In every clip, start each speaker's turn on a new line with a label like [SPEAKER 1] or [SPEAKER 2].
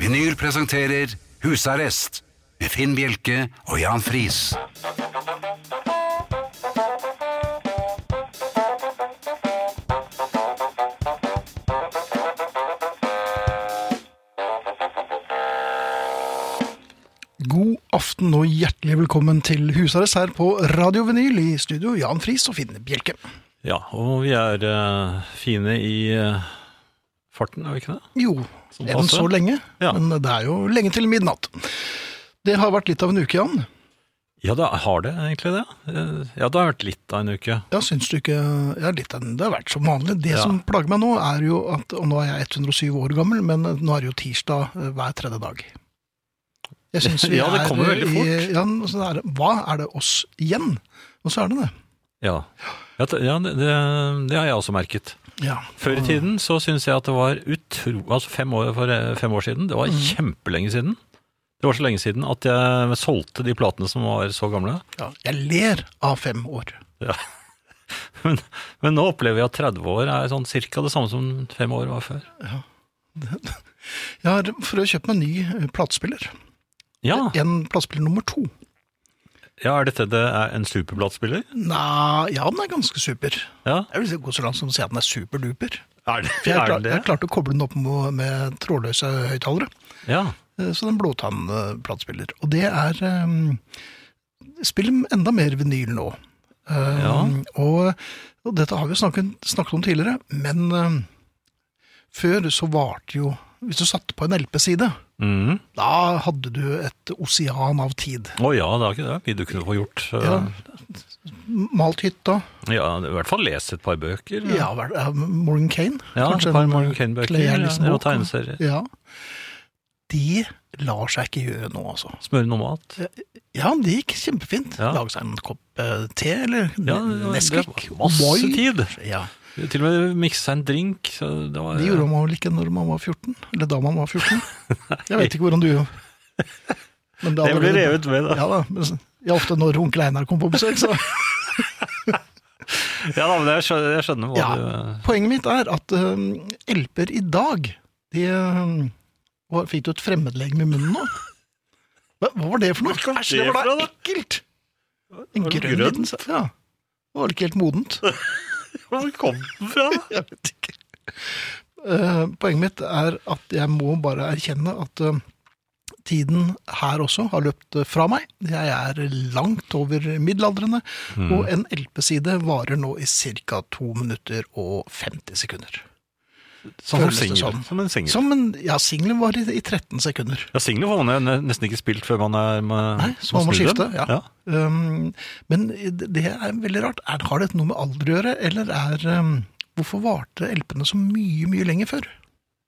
[SPEAKER 1] Vinyl presenterer Husarrest med Finn Bjelke og Jan Friis.
[SPEAKER 2] God aften og hjertelig velkommen til Husarrest her på Radio Vinyl i studio Jan Friis og Finn Bjelke.
[SPEAKER 3] Ja, og vi er eh, fine i eh, farten, er vi ikke det?
[SPEAKER 2] Jo,
[SPEAKER 3] Som
[SPEAKER 2] enn
[SPEAKER 3] passer.
[SPEAKER 2] så lenge,
[SPEAKER 3] Ja.
[SPEAKER 2] men det er jo lenge til midnatt. Det har vært litt av en uke, Jan.
[SPEAKER 3] Ja, det har det egentlig det. Eh, Ja, det har vært litt av en uke.
[SPEAKER 2] Ja, syns du ikke ja, litt av en, Det har vært som vanlig. Det
[SPEAKER 3] Ja.
[SPEAKER 2] som plager meg nå, er jo at Og nå er jeg 107 år gammel, men nå er det jo tirsdag eh, hver tredje dag. Jeg synes vi
[SPEAKER 3] Ja, det
[SPEAKER 2] er eh,
[SPEAKER 3] kommer veldig
[SPEAKER 2] i-
[SPEAKER 3] fort.
[SPEAKER 2] Ja, så det er, hva er det oss igjen? Og så er det det.
[SPEAKER 3] Ja, ja, det, ja, det, det har jeg også merket.
[SPEAKER 2] Ja.
[SPEAKER 3] Før i tiden så syns jeg at det var utro... Altså fem år, for eh, fem år siden, det var kjempelenge siden. Det var så lenge siden at jeg solgte de platene som var så gamle.
[SPEAKER 2] ja. Jeg ler av fem år.
[SPEAKER 3] Ja. Men, men nå opplever jeg at 30 år er sånn cirka det samme som fem år var før.
[SPEAKER 2] Jeg har for å kjøpe meg en ny eh, platespiller.
[SPEAKER 3] Ja,
[SPEAKER 2] En platespiller nummer to.
[SPEAKER 3] ja er dette det er en superbladspiller?
[SPEAKER 2] Nei, ja, den er ganske super.
[SPEAKER 3] Ja.
[SPEAKER 2] Jeg vil si- gå så langt som å si at den er superduper.
[SPEAKER 3] Er det,
[SPEAKER 2] For jeg,
[SPEAKER 3] er
[SPEAKER 2] klar,
[SPEAKER 3] det
[SPEAKER 2] jeg klarte å koble den opp med, med trådløse høyttalere.
[SPEAKER 3] Ja.
[SPEAKER 2] Eh, Så den blåtannplatespiller. Og det er um, Spill enda mer vinyl nå. Eh,
[SPEAKER 3] Ja.
[SPEAKER 2] og, og dette har vi jo snakket, snakket om tidligere, men eh, før så varte jo Hvis du satte på en LP-side,
[SPEAKER 3] Mm.
[SPEAKER 2] da hadde du et osean av tid.
[SPEAKER 3] Å ja, det er ikke det. Mye du kunne få gjort. eh,
[SPEAKER 2] Ja. Malt hytta,
[SPEAKER 3] ja, I hvert fall lese et par bøker.
[SPEAKER 2] ja, vel, eh, Morgan Kane.
[SPEAKER 3] Ja,
[SPEAKER 2] kanskje
[SPEAKER 3] et par
[SPEAKER 2] en,
[SPEAKER 3] Morgan
[SPEAKER 2] eh,
[SPEAKER 3] Kane-bøker
[SPEAKER 2] Clay
[SPEAKER 3] ja,
[SPEAKER 2] Ellis-bok,
[SPEAKER 3] og tegneserier.
[SPEAKER 2] Ja. De lar seg ikke gjøre nå, altså.
[SPEAKER 3] Smøre noe mat.
[SPEAKER 2] Ja, det gikk kjempefint.
[SPEAKER 3] Ja.
[SPEAKER 2] Lage seg en kopp eh, te eller
[SPEAKER 3] Ja,
[SPEAKER 2] n-
[SPEAKER 3] det var
[SPEAKER 2] Nesquik.
[SPEAKER 3] masse
[SPEAKER 2] O'boy.
[SPEAKER 3] tid.
[SPEAKER 2] Ja.
[SPEAKER 3] Til og med mikse seg en drink. Så det var,
[SPEAKER 2] Det gjorde man vel ikke når man var 14? Eller da man var 14? Jeg vet ikke hvordan du Men
[SPEAKER 3] Det ble
[SPEAKER 2] allerede-
[SPEAKER 3] revet med, da.
[SPEAKER 2] Ja da. men s- Ja, ofte når onkel Einar kom på besøk, så
[SPEAKER 3] Ja, da, men jeg skjønner, jeg skjønner hva
[SPEAKER 2] Ja.
[SPEAKER 3] du øh,
[SPEAKER 2] Poenget mitt er at um, LP-er i dag De eh, hva- Fikk du et fremmedlegg med munnen nå? Hva, hva var det for noe? Æsj, det var
[SPEAKER 3] for
[SPEAKER 2] da
[SPEAKER 3] noe, da?
[SPEAKER 2] ekkelt! En
[SPEAKER 3] Var det
[SPEAKER 2] grønn
[SPEAKER 3] grønn?
[SPEAKER 2] liten sak, ja. Det var ikke helt modent.
[SPEAKER 3] Hvor kom den fra?
[SPEAKER 2] Jeg vet ikke. Eh, poenget mitt er at jeg må bare erkjenne at eh, tiden her også har løpt eh, fra meg. Jeg er langt over middelaldrende,
[SPEAKER 3] Mm.
[SPEAKER 2] og en LP-side varer nå i ca. 2 minutter og 50 sekunder.
[SPEAKER 3] Som,
[SPEAKER 2] Føles det
[SPEAKER 3] singel.
[SPEAKER 2] som.
[SPEAKER 3] som en singel.
[SPEAKER 2] Som en, ja, singelen var i, i 13 sekunder.
[SPEAKER 3] Ja, singelen får man jo ne- nesten ikke spilt før man er med,
[SPEAKER 2] Nei, så man må
[SPEAKER 3] snur
[SPEAKER 2] skifte,
[SPEAKER 3] dem.
[SPEAKER 2] ja. Um, men det det er veldig rart. Er, har dette noe med alder å gjøre, eller er um, Hvorfor varte LP-ene så mye, mye lenger før?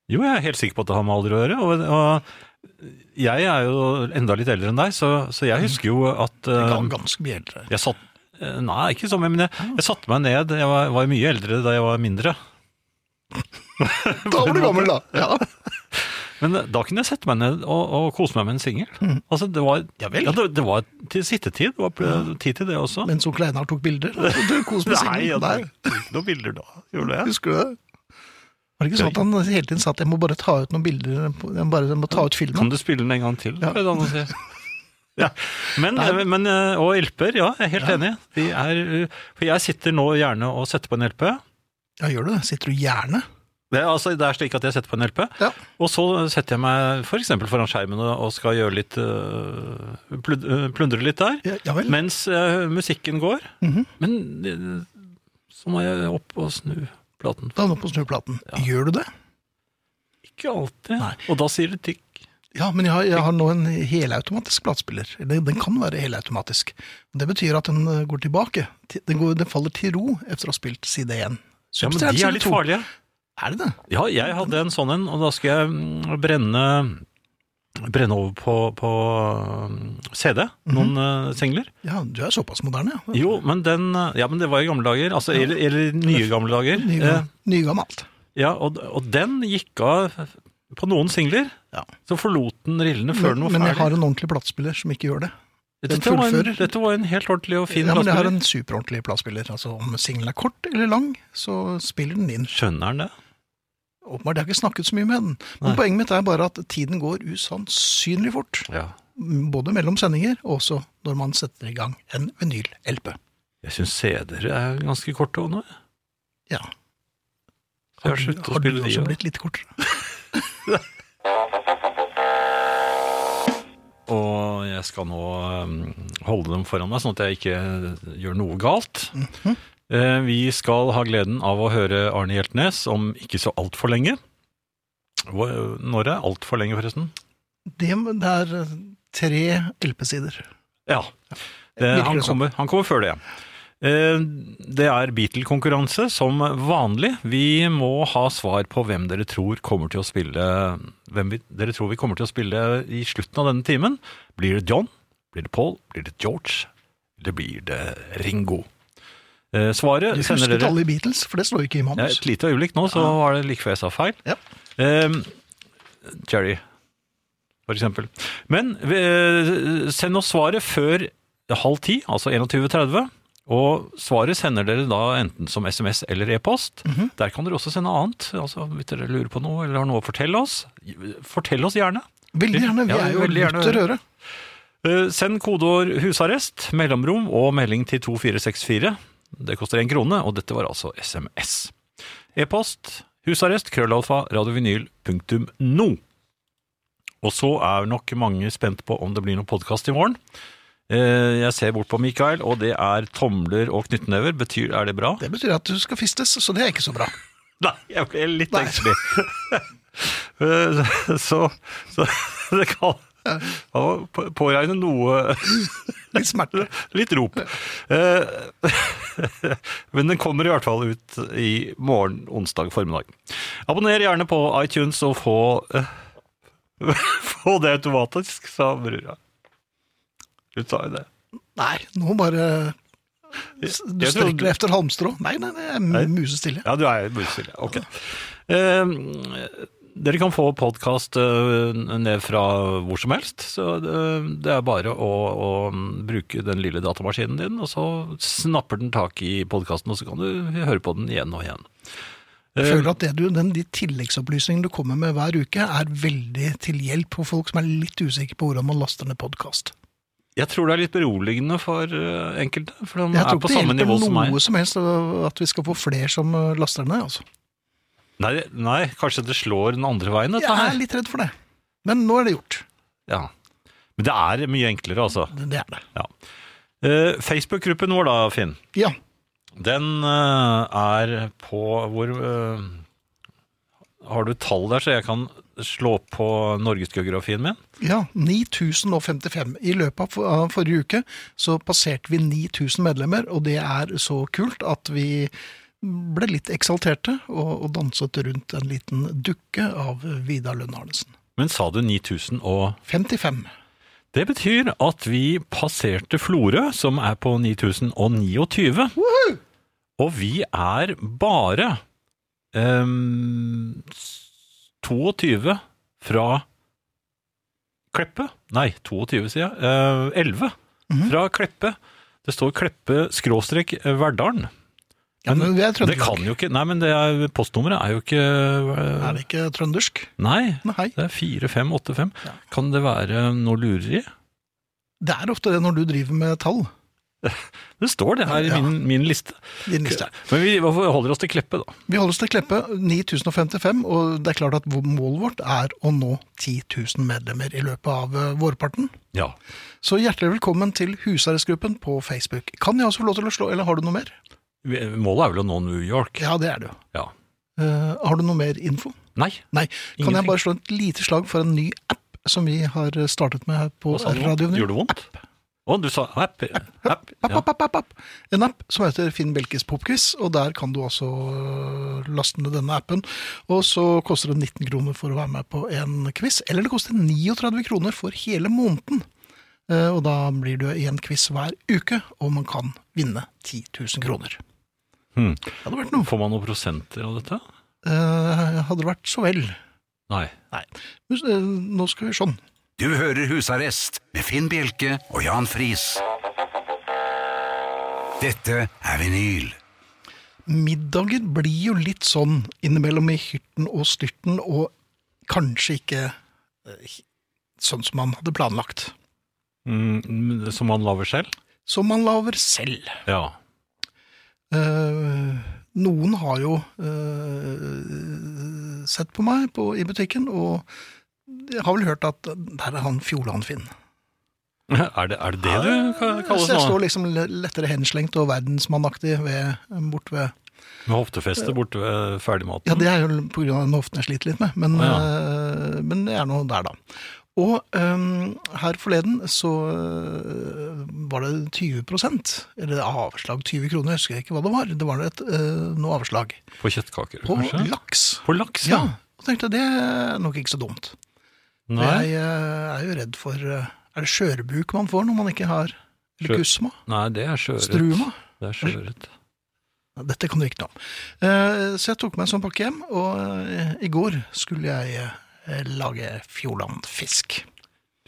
[SPEAKER 3] Jo, jeg er helt sikker på at det har med alder å gjøre. Og, og jeg er jo enda litt eldre enn deg, så, så jeg husker jo at eh,
[SPEAKER 2] Ganske mye eldre.
[SPEAKER 3] jeg satt, eh, Nei, ikke så mye, men jeg, jeg satte meg ned. Jeg var, var mye eldre da jeg var mindre.
[SPEAKER 2] Da var du gammel, da! Ja.
[SPEAKER 3] Men da kunne jeg sette meg ned og, og kose meg med en singel. Altså, det var,
[SPEAKER 2] Mm. Ja vel.
[SPEAKER 3] det, det var til sittetid. Det var pl- tid til det også.
[SPEAKER 2] Mens onkel Einar tok bilder. Og du koste med
[SPEAKER 3] nei, jeg
[SPEAKER 2] singelen. Nei,
[SPEAKER 3] tok ikke noen bilder da. Gjorde jeg?
[SPEAKER 2] husker du det? Var det ikke sånn at han hele tiden sa at jeg må bare ta ut noen bilder, jeg må bare jeg må ta ut filmen?
[SPEAKER 3] Kan du spille den en gang til?
[SPEAKER 2] Ja.
[SPEAKER 3] Ja. Si. Ja. Men,
[SPEAKER 2] Nei.
[SPEAKER 3] men, eh, og LP-er, ja, jeg er helt enig. De er, eh, for jeg sitter nå gjerne og setter på en LP.
[SPEAKER 2] Ja, gjør du det? Sitter du gjerne?
[SPEAKER 3] Det er, altså, det er slik at jeg setter på en LP,
[SPEAKER 2] Ja.
[SPEAKER 3] og så setter jeg meg for eksempel foran skjermen og og skal gjøre litt, øh, plud- øh, plundre litt der,
[SPEAKER 2] Ja, ja vel.
[SPEAKER 3] mens øh, musikken går.
[SPEAKER 2] Mhm.
[SPEAKER 3] Men øh, så må jeg opp og snu platen.
[SPEAKER 2] Da er han oppe på snuplaten. Gjør du det?
[SPEAKER 3] Ikke alltid.
[SPEAKER 2] Nei.
[SPEAKER 3] Og da sier det tikk.
[SPEAKER 2] Ja, men jeg har, jeg har nå en helautomatisk platespiller. Eller den kan være helautomatisk. Det betyr at den eh, går tilbake. Til- Den, går, den faller til ro etter å ha spilt side 1.
[SPEAKER 3] Ja, men de er litt farlige.
[SPEAKER 2] Er det det?
[SPEAKER 3] Ja, jeg hadde en sånn en, og da skal jeg mm, brenne, brenne over på, på mm, CD, noen
[SPEAKER 2] Mhm.
[SPEAKER 3] eh, singler.
[SPEAKER 2] Ja, du er såpass moderne. ja.
[SPEAKER 3] Jo, men den, eh, ja, men det var i gamle dager, altså, eller, eller nye gamle dager. Eh,
[SPEAKER 2] Nyga- Nygammalt.
[SPEAKER 3] ja, og, og den gikk av på noen singler,
[SPEAKER 2] Ja.
[SPEAKER 3] så forlot den rillene før den
[SPEAKER 2] Men,
[SPEAKER 3] var
[SPEAKER 2] men jeg
[SPEAKER 3] ferdig.
[SPEAKER 2] har en ordentlig platespiller som ikke gjør det. den
[SPEAKER 3] Dette var, en,
[SPEAKER 2] fullfører.
[SPEAKER 3] dette var en helt ordentlig og fin
[SPEAKER 2] ja, men jeg har
[SPEAKER 3] platespiller.
[SPEAKER 2] en superordentlig platespiller. Altså, om singelen er kort eller lang, så spiller den inn.
[SPEAKER 3] Skjønner han det?
[SPEAKER 2] Åpenbart, jeg har ikke snakket så mye med den. Men
[SPEAKER 3] Nei.
[SPEAKER 2] poenget mitt er bare at tiden går usannsynlig fort.
[SPEAKER 3] Ja.
[SPEAKER 2] Både mellom sendinger, og også når man setter i gang en vinyl-LP.
[SPEAKER 3] Jeg syns CD-er er ganske korte òg nå. jeg.
[SPEAKER 2] Ja.
[SPEAKER 3] Så jeg har sluttet å
[SPEAKER 2] har du
[SPEAKER 3] spille de
[SPEAKER 2] også
[SPEAKER 3] også.
[SPEAKER 2] blitt litt kortere?
[SPEAKER 3] Og jeg skal nå um, holde dem foran meg, sånn at jeg ikke gjør noe galt. Eh, Vi skal ha gleden av å høre Arne Hjeltnes om ikke så altfor lenge. Hvor- Når er altfor lenge, forresten?
[SPEAKER 2] Det, det er eh, tre LP-sider.
[SPEAKER 3] Ja.
[SPEAKER 2] Virker
[SPEAKER 3] Det,
[SPEAKER 2] det
[SPEAKER 3] han,
[SPEAKER 2] sånn?
[SPEAKER 3] kommer, han kommer før det. Eh, Det er Beatle-konkurranse som vanlig. Vi må ha svar på hvem dere tror kommer til å spille Hvem vi, dere tror vi kommer til å spille i slutten av denne timen. Blir det John? Blir det Paul? Blir det George? Eller blir det Ringo? Eh, Svaret
[SPEAKER 2] Du
[SPEAKER 3] sender
[SPEAKER 2] husket
[SPEAKER 3] dere
[SPEAKER 2] alle i Beatles, for det står jo ikke i
[SPEAKER 3] ja,
[SPEAKER 2] manus.
[SPEAKER 3] Et lite øyeblikk nå, så var det like før jeg sa feil.
[SPEAKER 2] Ja.
[SPEAKER 3] Ehm, Jerry, for eksempel. Men eh, send oss svaret før halv ti, altså 21.30. Og svaret sender dere da enten som SMS eller e-post. Der kan dere også sende annet. altså Hvis dere lurer på noe eller har noe å fortelle oss, fortell oss gjerne.
[SPEAKER 2] Veldig gjerne. Vi
[SPEAKER 3] Ja,
[SPEAKER 2] er jo
[SPEAKER 3] veldig gjerne.
[SPEAKER 2] lutt og røre.
[SPEAKER 3] Eh, Send kodeord 'husarrest', mellomrom og melding til 2464. Det koster én krone, og dette var altså SMS. E-post husarrest krøllalfa radiovinyl.no. Og så er nok mange spent på om det blir noen podkast i morgen. Eh, Jeg ser bort på Mikael, og det er tomler og knyttnever. Betyr, Er det bra?
[SPEAKER 2] Det betyr at du skal fistes, så det er ikke så bra.
[SPEAKER 3] Nei, jeg ble litt
[SPEAKER 2] Nei.
[SPEAKER 3] engstelig. Eh, så, så det kan man må påregne noe
[SPEAKER 2] Litt smerte.
[SPEAKER 3] Litt rop. Eh, Men den kommer i hvert fall ut i morgen, onsdag formiddag. Abonner gjerne på iTunes og få eh, Få det automatisk, sa brura. Hun sa jo det.
[SPEAKER 2] Nei, nå bare eh, Du
[SPEAKER 3] Jeg- jeg trodde-
[SPEAKER 2] strekker deg etter halmstrå. Nei, nei, det er musestille.
[SPEAKER 3] Ja, du er musestille. Ok. Eh, dere kan få podkast ned fra hvor som helst. Så eh, det er bare å, å bruke den lille datamaskinen din, og så snapper den tak i podkasten, og så kan du høre på den igjen og igjen. Ehm,
[SPEAKER 2] Jeg
[SPEAKER 3] Eh.
[SPEAKER 2] føler at det du, den, de tilleggsopplysningene du kommer med hver uke, er veldig til hjelp for folk som er litt usikre på hvordan man laster ned podkast.
[SPEAKER 3] Jeg tror det er litt beroligende for eh, enkelte, for de
[SPEAKER 2] Jeg
[SPEAKER 3] er
[SPEAKER 2] tror
[SPEAKER 3] på
[SPEAKER 2] ikke det
[SPEAKER 3] samme nivå
[SPEAKER 2] hjelper
[SPEAKER 3] som meg.
[SPEAKER 2] noe som helst av at vi skal få flere som øh, laster ned. altså.
[SPEAKER 3] Nei, nei, kanskje det slår den andre veien,
[SPEAKER 2] Jeg
[SPEAKER 3] dette
[SPEAKER 2] er
[SPEAKER 3] her.
[SPEAKER 2] litt redd for det. Men nå er det gjort.
[SPEAKER 3] Ja. Men det er mye enklere, altså.
[SPEAKER 2] Det det er det.
[SPEAKER 3] Ja. Eh, Facebook-gruppen vår da, Finn,
[SPEAKER 2] Ja.
[SPEAKER 3] den eh, er på hvor eh, Har du tall der, så jeg kan slå opp på norgesgeografien min?
[SPEAKER 2] ja 9055. I løpet av for- av forrige uke så passerte vi 9000 medlemmer, og det er så kult at vi ble litt eksalterte og, og danset rundt en liten dukke av Vidar Lønn Arnesen.
[SPEAKER 3] Men sa du 9000 og
[SPEAKER 2] 55.
[SPEAKER 3] Det betyr at vi passerte Florø, som er på 9029. Og vi er bare ehm, s- 22 fra Kleppe. Nei, 22 sier jeg. Eh, 11
[SPEAKER 2] Mhm.
[SPEAKER 3] fra Kleppe. Det står Kleppe skråstrek Verdalen.
[SPEAKER 2] Ja, men vi er
[SPEAKER 3] Det
[SPEAKER 2] trøndersk.
[SPEAKER 3] kan jo ikke Nei, men det er, postnummeret er jo ikke eh,
[SPEAKER 2] Er det ikke trøndersk?
[SPEAKER 3] Nei.
[SPEAKER 2] Nei.
[SPEAKER 3] Det er 4585.
[SPEAKER 2] Ja.
[SPEAKER 3] Kan det være noe lureri?
[SPEAKER 2] Det er ofte det når du driver med tall.
[SPEAKER 3] Det står det her i
[SPEAKER 2] Ja.
[SPEAKER 3] min, min liste.
[SPEAKER 2] Din liste.
[SPEAKER 3] Men vi holder oss til Kleppe, da.
[SPEAKER 2] Vi holder oss til Kleppe, 9055, og det er klart at målet vårt er å nå 10 000 medlemmer i løpet av eh, vårparten.
[SPEAKER 3] Ja.
[SPEAKER 2] Så hjertelig velkommen til husarrestgruppen på Facebook. Kan jeg også få lov til å slå, eller har du noe mer?
[SPEAKER 3] Målet er vel å nå New York?
[SPEAKER 2] Ja, det er det jo.
[SPEAKER 3] Ja.
[SPEAKER 2] Eh, har du noe mer info?
[SPEAKER 3] Nei.
[SPEAKER 2] Nei. Kan
[SPEAKER 3] Ingenting.
[SPEAKER 2] jeg bare slå et lite slag for en ny app som vi har eh, startet med her på
[SPEAKER 3] Hva sa du? nå?
[SPEAKER 2] radioen?
[SPEAKER 3] Gjorde det vondt? Å, du sa app. app.
[SPEAKER 2] App,
[SPEAKER 3] Ja.
[SPEAKER 2] app, app, app, app. En app som heter Finn Belkes popquiz, og der kan du altså øh, laste ned denne appen. Og så koster det 19 kroner for å være med på en quiz, eller det koster 39 kroner for hele måneden. Eh, Og da blir du i en quiz hver uke, og man kan vinne 10 000 kroner.
[SPEAKER 3] Hmm.
[SPEAKER 2] Det hadde vært noe.
[SPEAKER 3] Får man noen prosenter av dette?
[SPEAKER 2] Eh, hadde det vært så vel.
[SPEAKER 3] Nei.
[SPEAKER 2] Men, eh, Nå skal vi sånn.
[SPEAKER 1] Du hører Husarrest med Finn Bjelke og Jan Friis. Dette er vinyl.
[SPEAKER 2] middager blir jo litt sånn innimellom i hyrten og styrten, og kanskje ikke eh, sånn som man hadde planlagt.
[SPEAKER 3] Mm, som man lager selv?
[SPEAKER 2] Som man lager selv.
[SPEAKER 3] Ja.
[SPEAKER 2] Eh, noen har jo eh, sett på meg på, i butikken, og jeg har vel hørt at der er han Fjordland-Finn.
[SPEAKER 3] Er det er det, det du ka-
[SPEAKER 2] Så jeg
[SPEAKER 3] kalles nå?
[SPEAKER 2] står liksom le- lettere henslengt og verdensmannaktig ved, bort ved
[SPEAKER 3] Med hoftefeste borte ved ferdigmaten?
[SPEAKER 2] Ja, det er jo på grunn av den hoften jeg sliter litt med, men,
[SPEAKER 3] Å,
[SPEAKER 2] eh, men jeg er nå der, da. Og eh, her forleden så eh, var det 20 eller avslag 20 kroner, jeg husker ikke hva det var. Det var et eh, noe avslag
[SPEAKER 3] På kjøttkaker,
[SPEAKER 2] på
[SPEAKER 3] kanskje?
[SPEAKER 2] laks.
[SPEAKER 3] På laks,
[SPEAKER 2] Ja, og tenkte det er nok ikke så dumt.
[SPEAKER 3] Nei,
[SPEAKER 2] Jeg eh, er jo redd for eh, Er det skjørbuk man får når man ikke har
[SPEAKER 3] Skjør-
[SPEAKER 2] Eller kusma?
[SPEAKER 3] Nei, det er sjøørret.
[SPEAKER 2] Struma?
[SPEAKER 3] Det er sjøørret.
[SPEAKER 2] Ja, Dette kan du ikke noe om. Eh, Så jeg tok meg en sånn pakke hjem, og eh, i går skulle jeg eh, lage Fjordland-fisk.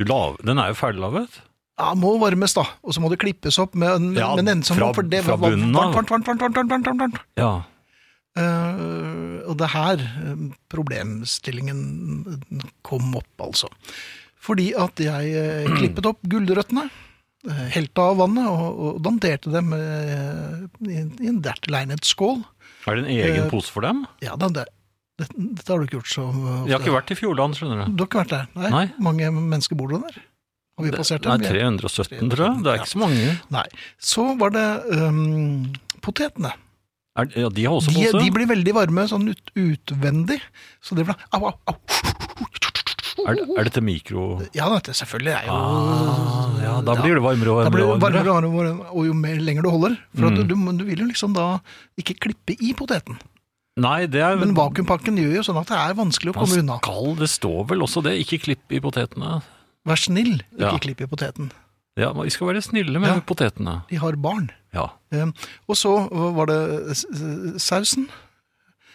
[SPEAKER 3] Du lav- Den er jo ferdiglaget.
[SPEAKER 2] Ja, må varmes, da, og så må det klippes opp med en,
[SPEAKER 3] Ja,
[SPEAKER 2] med en ensom
[SPEAKER 3] fra-
[SPEAKER 2] for det
[SPEAKER 3] fra
[SPEAKER 2] var
[SPEAKER 3] bunnen av.
[SPEAKER 2] varmt, varmt, varmt, varmt, varmt, varmt, varmt, varmt, varmt.
[SPEAKER 3] Ja.
[SPEAKER 2] Eh, og det her eh, problemstillingen mm, kom opp, altså. Fordi at jeg eh, klippet opp gulrøttene, eh, helte av vannet og, og danderte dem eh, i, en- i en dertil egnet skål.
[SPEAKER 3] Er det en egen
[SPEAKER 2] Eh,
[SPEAKER 3] pose for dem?
[SPEAKER 2] Ja, da, det, det, dette har du ikke gjort så ofte.
[SPEAKER 3] Jeg har ikke vært i Fjordland, skjønner du.
[SPEAKER 2] Du har ikke vært der? Nei.
[SPEAKER 3] Nei.
[SPEAKER 2] Mange mennesker bor det der? Har vi passert
[SPEAKER 3] Nei,
[SPEAKER 2] dem?
[SPEAKER 3] 317, tror jeg. Det er ikke så mange.
[SPEAKER 2] Nei. Så var det øhm, potetene.
[SPEAKER 3] Er, ja, de har også
[SPEAKER 2] De,
[SPEAKER 3] pose?
[SPEAKER 2] de blir veldig varme sånn ut, utvendig. Så det ble au, au, au.
[SPEAKER 3] Er, er dette mikro...?
[SPEAKER 2] Ja, dette selvfølgelig er jo
[SPEAKER 3] Ah, ja, da blir det varmere og
[SPEAKER 2] Da blir det
[SPEAKER 3] varmere. og
[SPEAKER 2] varmere
[SPEAKER 3] varmere.
[SPEAKER 2] og varmere, og jo mer lenger du holder. For at du, du vil jo liksom da ikke klippe i poteten.
[SPEAKER 3] Nei, det er...
[SPEAKER 2] Men vakuumpakken gjør jo sånn at det er vanskelig å
[SPEAKER 3] Man
[SPEAKER 2] komme unna.
[SPEAKER 3] skal, det står vel også det, ikke klipp i potetene.
[SPEAKER 2] Vær snill, ikke
[SPEAKER 3] Ja.
[SPEAKER 2] klipp i poteten.
[SPEAKER 3] Ja, men vi skal være snille med
[SPEAKER 2] Ja.
[SPEAKER 3] potetene.
[SPEAKER 2] De har barn.
[SPEAKER 3] Ja.
[SPEAKER 2] Eh, Og så var det s- s- sausen.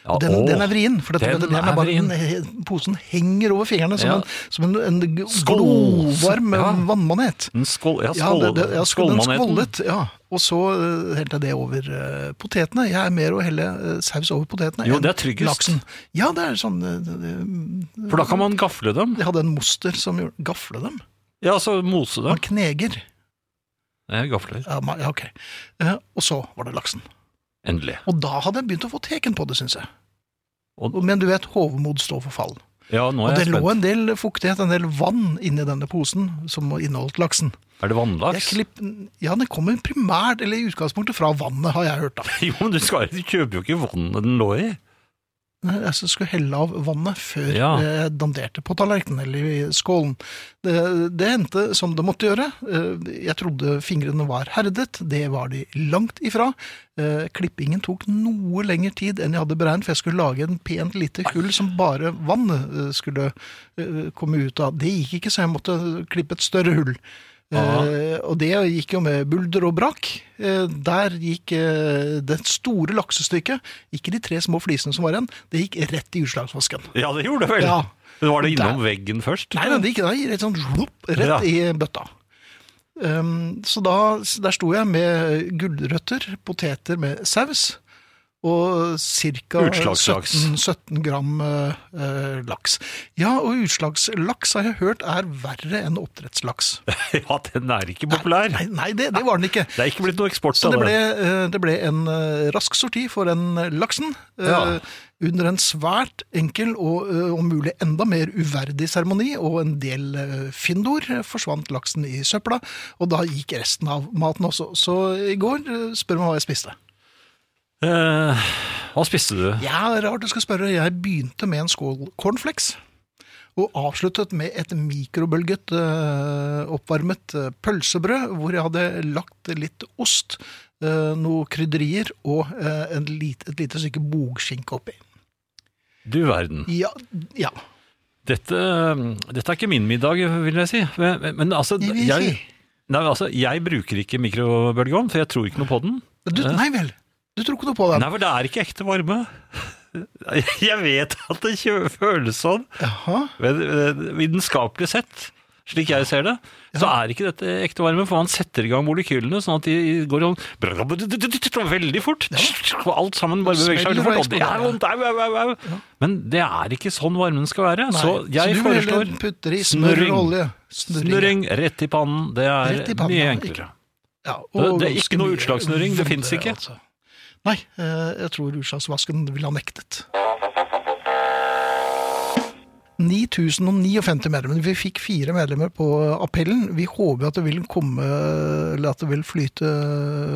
[SPEAKER 3] ja
[SPEAKER 2] Den,
[SPEAKER 3] Ah, åh,
[SPEAKER 2] den er vrien, for dette,
[SPEAKER 3] den
[SPEAKER 2] den, er
[SPEAKER 3] er
[SPEAKER 2] bare,
[SPEAKER 3] vrien.
[SPEAKER 2] den- posen henger over fingrene som
[SPEAKER 3] Ja.
[SPEAKER 2] en, som en, en g-
[SPEAKER 3] Skål!
[SPEAKER 2] glovarm eh,
[SPEAKER 3] Ja.
[SPEAKER 2] vannmanet.
[SPEAKER 3] en skål, ja,
[SPEAKER 2] Ja,
[SPEAKER 3] skål,
[SPEAKER 2] det, det, ja, så den
[SPEAKER 3] skålmaneten.
[SPEAKER 2] skvollet. Ja. Og så eh, helte jeg det over eh, potetene. Jeg er mer å helle eh, saus over potetene
[SPEAKER 3] Jo,
[SPEAKER 2] enn
[SPEAKER 3] det er tryggest.
[SPEAKER 2] laksen. Ja, det er sånn eh, det- det-
[SPEAKER 3] For da kan man gafle dem.
[SPEAKER 2] Jeg hadde en moster som gjorde Gafle dem?
[SPEAKER 3] Ja, så mose dem.
[SPEAKER 2] Man kneger.
[SPEAKER 3] Jeg gafler.
[SPEAKER 2] Ja, ma- ja, ok. Eh, Og så var det laksen.
[SPEAKER 3] Endelig.
[SPEAKER 2] Og da hadde jeg begynt å få teken på det, syns jeg.
[SPEAKER 3] Og-
[SPEAKER 2] Men du vet, hovmod står for fall.
[SPEAKER 3] Ja, nå
[SPEAKER 2] Og
[SPEAKER 3] er
[SPEAKER 2] det
[SPEAKER 3] jeg
[SPEAKER 2] lå
[SPEAKER 3] spent.
[SPEAKER 2] en del fuktighet, en del vann, inni denne posen som inneholdt laksen.
[SPEAKER 3] Er det
[SPEAKER 2] Jeg
[SPEAKER 3] vannlaks?
[SPEAKER 2] klipp, ja, den kommer primært, eller i utgangspunktet, fra vannet, har jeg hørt. da.
[SPEAKER 3] Jo, men du, skal, du kjøper jo ikke vannet den lå i.
[SPEAKER 2] Jeg så skulle helle av vannet før
[SPEAKER 3] Ja.
[SPEAKER 2] jeg danderte på tallerkenen eller i skålen. Det, det hendte som det måtte gjøre. Eh, Jeg trodde fingrene var herdet, det var de langt ifra. Eh, Klippingen tok noe lengre tid enn jeg hadde beregnet, for jeg skulle lage en pent lite hull som bare vann eh, skulle eh, komme ut av. Det gikk ikke, så jeg måtte klippe et større hull.
[SPEAKER 3] Ah.
[SPEAKER 2] Eh, og det gikk jo med bulder og brak. Eh, der gikk eh, det store laksestykket, ikke de tre små flisene som var igjen, det gikk rett i utslagsvasken.
[SPEAKER 3] Ja, det gjorde det vel.
[SPEAKER 2] Ja.
[SPEAKER 3] Men Var det innom
[SPEAKER 2] Der.
[SPEAKER 3] veggen først?
[SPEAKER 2] Nei, nei, det gikk nei, rett, sånn, slupp, rett
[SPEAKER 3] Ja.
[SPEAKER 2] i bøtta. Um, så da, der sto jeg med gulrøtter, poteter med saus og ca. 17,
[SPEAKER 3] Utslagslaks.
[SPEAKER 2] 17 gram eh, eh, laks. Ja, og utslagslaks har jeg hørt er verre enn oppdrettslaks.
[SPEAKER 3] Ja, den er ikke populær.
[SPEAKER 2] Nei, nei det, det var den ikke.
[SPEAKER 3] Det er ikke blitt noe eksport
[SPEAKER 2] Så
[SPEAKER 3] av
[SPEAKER 2] det ble,
[SPEAKER 3] det.
[SPEAKER 2] eh, det ble en eh, rask sorti for den eh, laksen. eh,
[SPEAKER 3] Ja.
[SPEAKER 2] Under en svært enkel og eh, om mulig enda mer uverdig seremoni og en del eh, findor eh, forsvant laksen i søpla, og da gikk resten av maten også. Så i går eh, spør meg hva jeg spiste.
[SPEAKER 3] Eh, hva spiste du?
[SPEAKER 2] Ja, rart du skal spørre. Jeg begynte med en skål cornflakes. Og avsluttet med et mikrobølget, eh, oppvarmet eh, pølsebrød, hvor jeg hadde lagt litt ost, eh, noe krydderier og eh, en lit, et lite stykke bogskinke oppi.
[SPEAKER 3] Du verden.
[SPEAKER 2] Ja, ja.
[SPEAKER 3] Dette, dette er ikke min middag, vil jeg si. Men, men- men altså,
[SPEAKER 2] Jeg vil
[SPEAKER 3] jeg,
[SPEAKER 2] si.
[SPEAKER 3] nei, men altså, jeg bruker ikke mikrobølgeovn, for jeg tror ikke noe på den.
[SPEAKER 2] Du, nei vel, du tror ikke noe på den?
[SPEAKER 3] Nei, for det er ikke ekte varme. Jeg vet at det kjø- føles sånn,
[SPEAKER 2] Jaha.
[SPEAKER 3] men eh, vitenskapelig sett slik jeg ser det, så er ikke dette ekte varme, for man setter i gang molekylene sånn at de går sånn veldig fort. Og alt sammen bare beveger seg veldig fort. Og det er vondt! Au, au, au, au. Men det er ikke sånn varmen skal være. Så
[SPEAKER 2] Nei, så du
[SPEAKER 3] jeg
[SPEAKER 2] vil
[SPEAKER 3] foreslår
[SPEAKER 2] heller putte det i smør og olje. Snurring.
[SPEAKER 3] snurring rett i pannen. Det er
[SPEAKER 2] Rett i pannen,
[SPEAKER 3] mye
[SPEAKER 2] ja.
[SPEAKER 3] enklere.
[SPEAKER 2] Ja,
[SPEAKER 3] Det- det er
[SPEAKER 2] ganske
[SPEAKER 3] ikke noe
[SPEAKER 2] mye
[SPEAKER 3] utslagsnurring, det finnes
[SPEAKER 2] vondere,
[SPEAKER 3] ikke.
[SPEAKER 2] altså. Nei, eh, jeg tror utslagsvasken ville ha nektet. 9059 medlemmer. Vi fikk fire medlemmer på appellen. Vi håper at det vil komme, eller at det vil flyte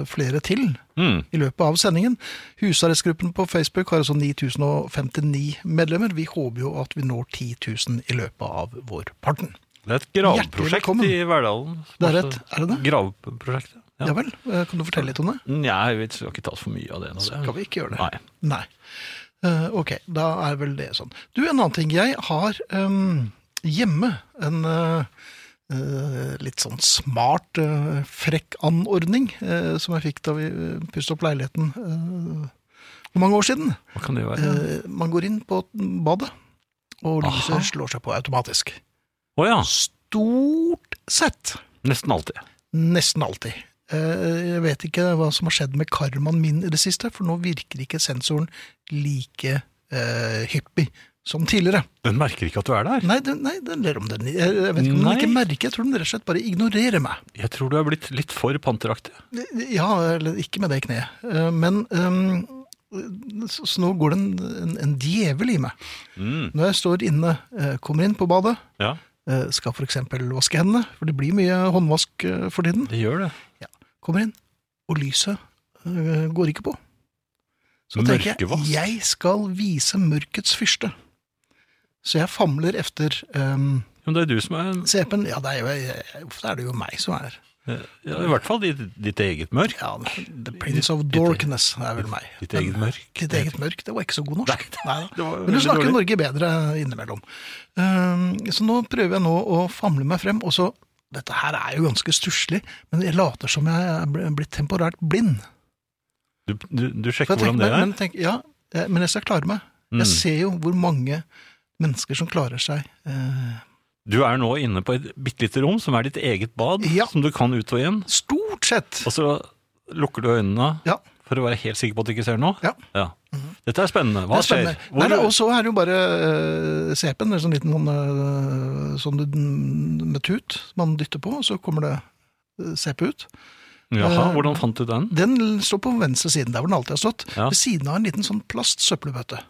[SPEAKER 2] flere til
[SPEAKER 3] Mm.
[SPEAKER 2] i løpet av sendingen. Husarrestgruppen på Facebook har altså 9059 medlemmer. Vi håper jo at vi når 10 000 i løpet av vårparten.
[SPEAKER 3] Det er et
[SPEAKER 2] Hjertelig
[SPEAKER 3] graveprosjekt
[SPEAKER 2] velkommen.
[SPEAKER 3] i Verdalen.
[SPEAKER 2] Det er et, er det det?
[SPEAKER 3] Graveprosjektet.
[SPEAKER 2] Ja,
[SPEAKER 3] Ja.
[SPEAKER 2] vel. Eh, Kan du fortelle litt om det?
[SPEAKER 3] Nei, vi skal ikke ta så mye av det nå.
[SPEAKER 2] Skal vi ikke gjøre det?
[SPEAKER 3] Nei.
[SPEAKER 2] Nei. Eh, ok, da er vel det sånn. Du, en annen ting. Jeg har em, hjemme en eh, eh, litt sånn smart, eh, frekk anordning eh, som jeg fikk da vi eh, pustet opp leiligheten eh, for mange år siden.
[SPEAKER 3] Hva kan det være?
[SPEAKER 2] Eh, man går inn på badet, og lyset
[SPEAKER 3] Aha.
[SPEAKER 2] slår seg på automatisk.
[SPEAKER 3] Å ja.
[SPEAKER 2] Stort sett.
[SPEAKER 3] Nesten alltid.
[SPEAKER 2] Nesten alltid. Eh, Jeg vet ikke hva som har skjedd med karmaen min i det siste, for nå virker ikke sensoren like eh, hyppig som tidligere.
[SPEAKER 3] Den merker ikke at du er der.
[SPEAKER 2] Nei, den, nei, den ler om den. Jeg jeg vet ikke om den
[SPEAKER 3] Nei.
[SPEAKER 2] ikke merker, jeg tror den rett og slett bare ignorerer meg.
[SPEAKER 3] Jeg tror du er blitt litt for panteraktig.
[SPEAKER 2] Ja, eller ikke med det kneet. Eh, Men ehm, så, så nå går det en, en, en djevel i meg. Når jeg står inne, eh, kommer inn på badet,
[SPEAKER 3] Mm, Ja,
[SPEAKER 2] eh, skal for eksempel vaske hendene, for det blir mye håndvask eh, for tiden.
[SPEAKER 3] det gjør det.
[SPEAKER 2] kommer inn, og lyset øh, går ikke på. Så tenker
[SPEAKER 3] Mørkevask.
[SPEAKER 2] jeg jeg skal vise mørkets fyrste. Så jeg famler efter um,
[SPEAKER 3] Men det er du som er
[SPEAKER 2] CP-en. Ja, det er jo, jeg, jeg- ofte er det jo meg som er
[SPEAKER 3] eh, ja, I hvert fall ditt, ditt eget mørk.
[SPEAKER 2] ja, The Prince of Dorkness. Det er vel meg.
[SPEAKER 3] Ditt eget mørk.
[SPEAKER 2] Ditt eget mørk. Det var ikke så god norsk. Neida.
[SPEAKER 3] det var
[SPEAKER 2] Men du
[SPEAKER 3] veldig
[SPEAKER 2] snakker
[SPEAKER 3] dårlig.
[SPEAKER 2] Norge bedre innimellom. Um, så nå prøver jeg nå å famle meg frem, og så Dette her er jo ganske stusslig, men jeg later som jeg er bl- blitt temporært blind.
[SPEAKER 3] Du, du, du
[SPEAKER 2] For
[SPEAKER 3] sjekker
[SPEAKER 2] jeg
[SPEAKER 3] hvordan det
[SPEAKER 2] tenker,
[SPEAKER 3] er?
[SPEAKER 2] men, men, tenk, ja, eh, men jeg skal klare meg.
[SPEAKER 3] Mm.
[SPEAKER 2] Jeg ser jo hvor mange mennesker som klarer seg. Eh,
[SPEAKER 3] Du er nå inne på et bitte lite rom som er ditt eget bad,
[SPEAKER 2] Ja.
[SPEAKER 3] som du kan ut og inn.
[SPEAKER 2] stort sett!
[SPEAKER 3] Og så lukker du øynene
[SPEAKER 2] Ja.
[SPEAKER 3] for å være helt sikker på at du ikke ser noe?
[SPEAKER 2] Ja. Mhm.
[SPEAKER 3] Dette er spennende. Hva
[SPEAKER 2] det er spennende.
[SPEAKER 3] skjer?
[SPEAKER 2] Nei,
[SPEAKER 3] Hvor,
[SPEAKER 2] nei, og så er det jo bare uh, CP-en, det er sånn liten eh, sånn du, med tut som man dytter på, og så kommer det eh, CP ut.
[SPEAKER 3] jaha,
[SPEAKER 2] eh,
[SPEAKER 3] hvordan fant du den?
[SPEAKER 2] Den står på venstre siden, der hvor den alltid har stått.
[SPEAKER 3] Ja.
[SPEAKER 2] Ved siden av en liten sånn plastsøppelbøtte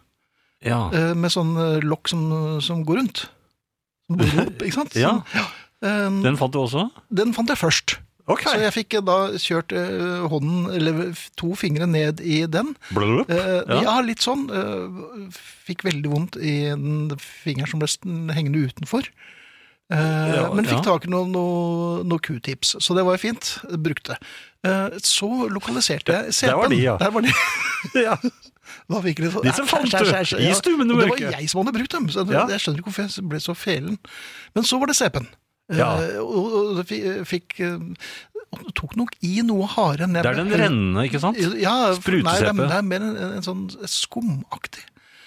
[SPEAKER 3] Ja.
[SPEAKER 2] eh, med sånn eh, lokk som, som går rundt. Som går opp, ikke sant?
[SPEAKER 3] Ja.
[SPEAKER 2] Sånn, ja. Eh,
[SPEAKER 3] Den fant du også?
[SPEAKER 2] den fant jeg først.
[SPEAKER 3] Ok.
[SPEAKER 2] Så jeg fikk eh, da kjørt eh, hånden, eller f- to fingre ned i den.
[SPEAKER 3] Blup.
[SPEAKER 2] Eh,
[SPEAKER 3] Ja.
[SPEAKER 2] ja. litt sånn. eh, fikk veldig vondt i den fingeren som ble st- hengende utenfor. Eh,
[SPEAKER 3] Ja,
[SPEAKER 2] men fikk
[SPEAKER 3] ja.
[SPEAKER 2] tak i noen noe, noe Q-tips, så det var jo fint. Brukte. Eh, så lokaliserte jeg CP-en.
[SPEAKER 3] der var de, ja.
[SPEAKER 2] Der var de.
[SPEAKER 3] ja.
[SPEAKER 2] Da fikk jeg litt sånn,
[SPEAKER 3] De som fant
[SPEAKER 2] æsj, æsj, æsj,
[SPEAKER 3] du,
[SPEAKER 2] æsj,
[SPEAKER 3] i stummende
[SPEAKER 2] og Det
[SPEAKER 3] mørke.
[SPEAKER 2] var jeg som hadde brukt dem, så jeg,
[SPEAKER 3] Ja.
[SPEAKER 2] jeg skjønner ikke hvorfor jeg ble så felen. Men så var det CP-en. Eh,
[SPEAKER 3] Ja.
[SPEAKER 2] og, og det fi- fikk eh, og det tok nok i noe hardere enn jeg
[SPEAKER 3] Det er den
[SPEAKER 2] ble-
[SPEAKER 3] rennende, ikke sant?
[SPEAKER 2] Ja, for- Nei, det,
[SPEAKER 3] Sprute-CP.
[SPEAKER 2] er- det er mer en, en sånn skumaktig.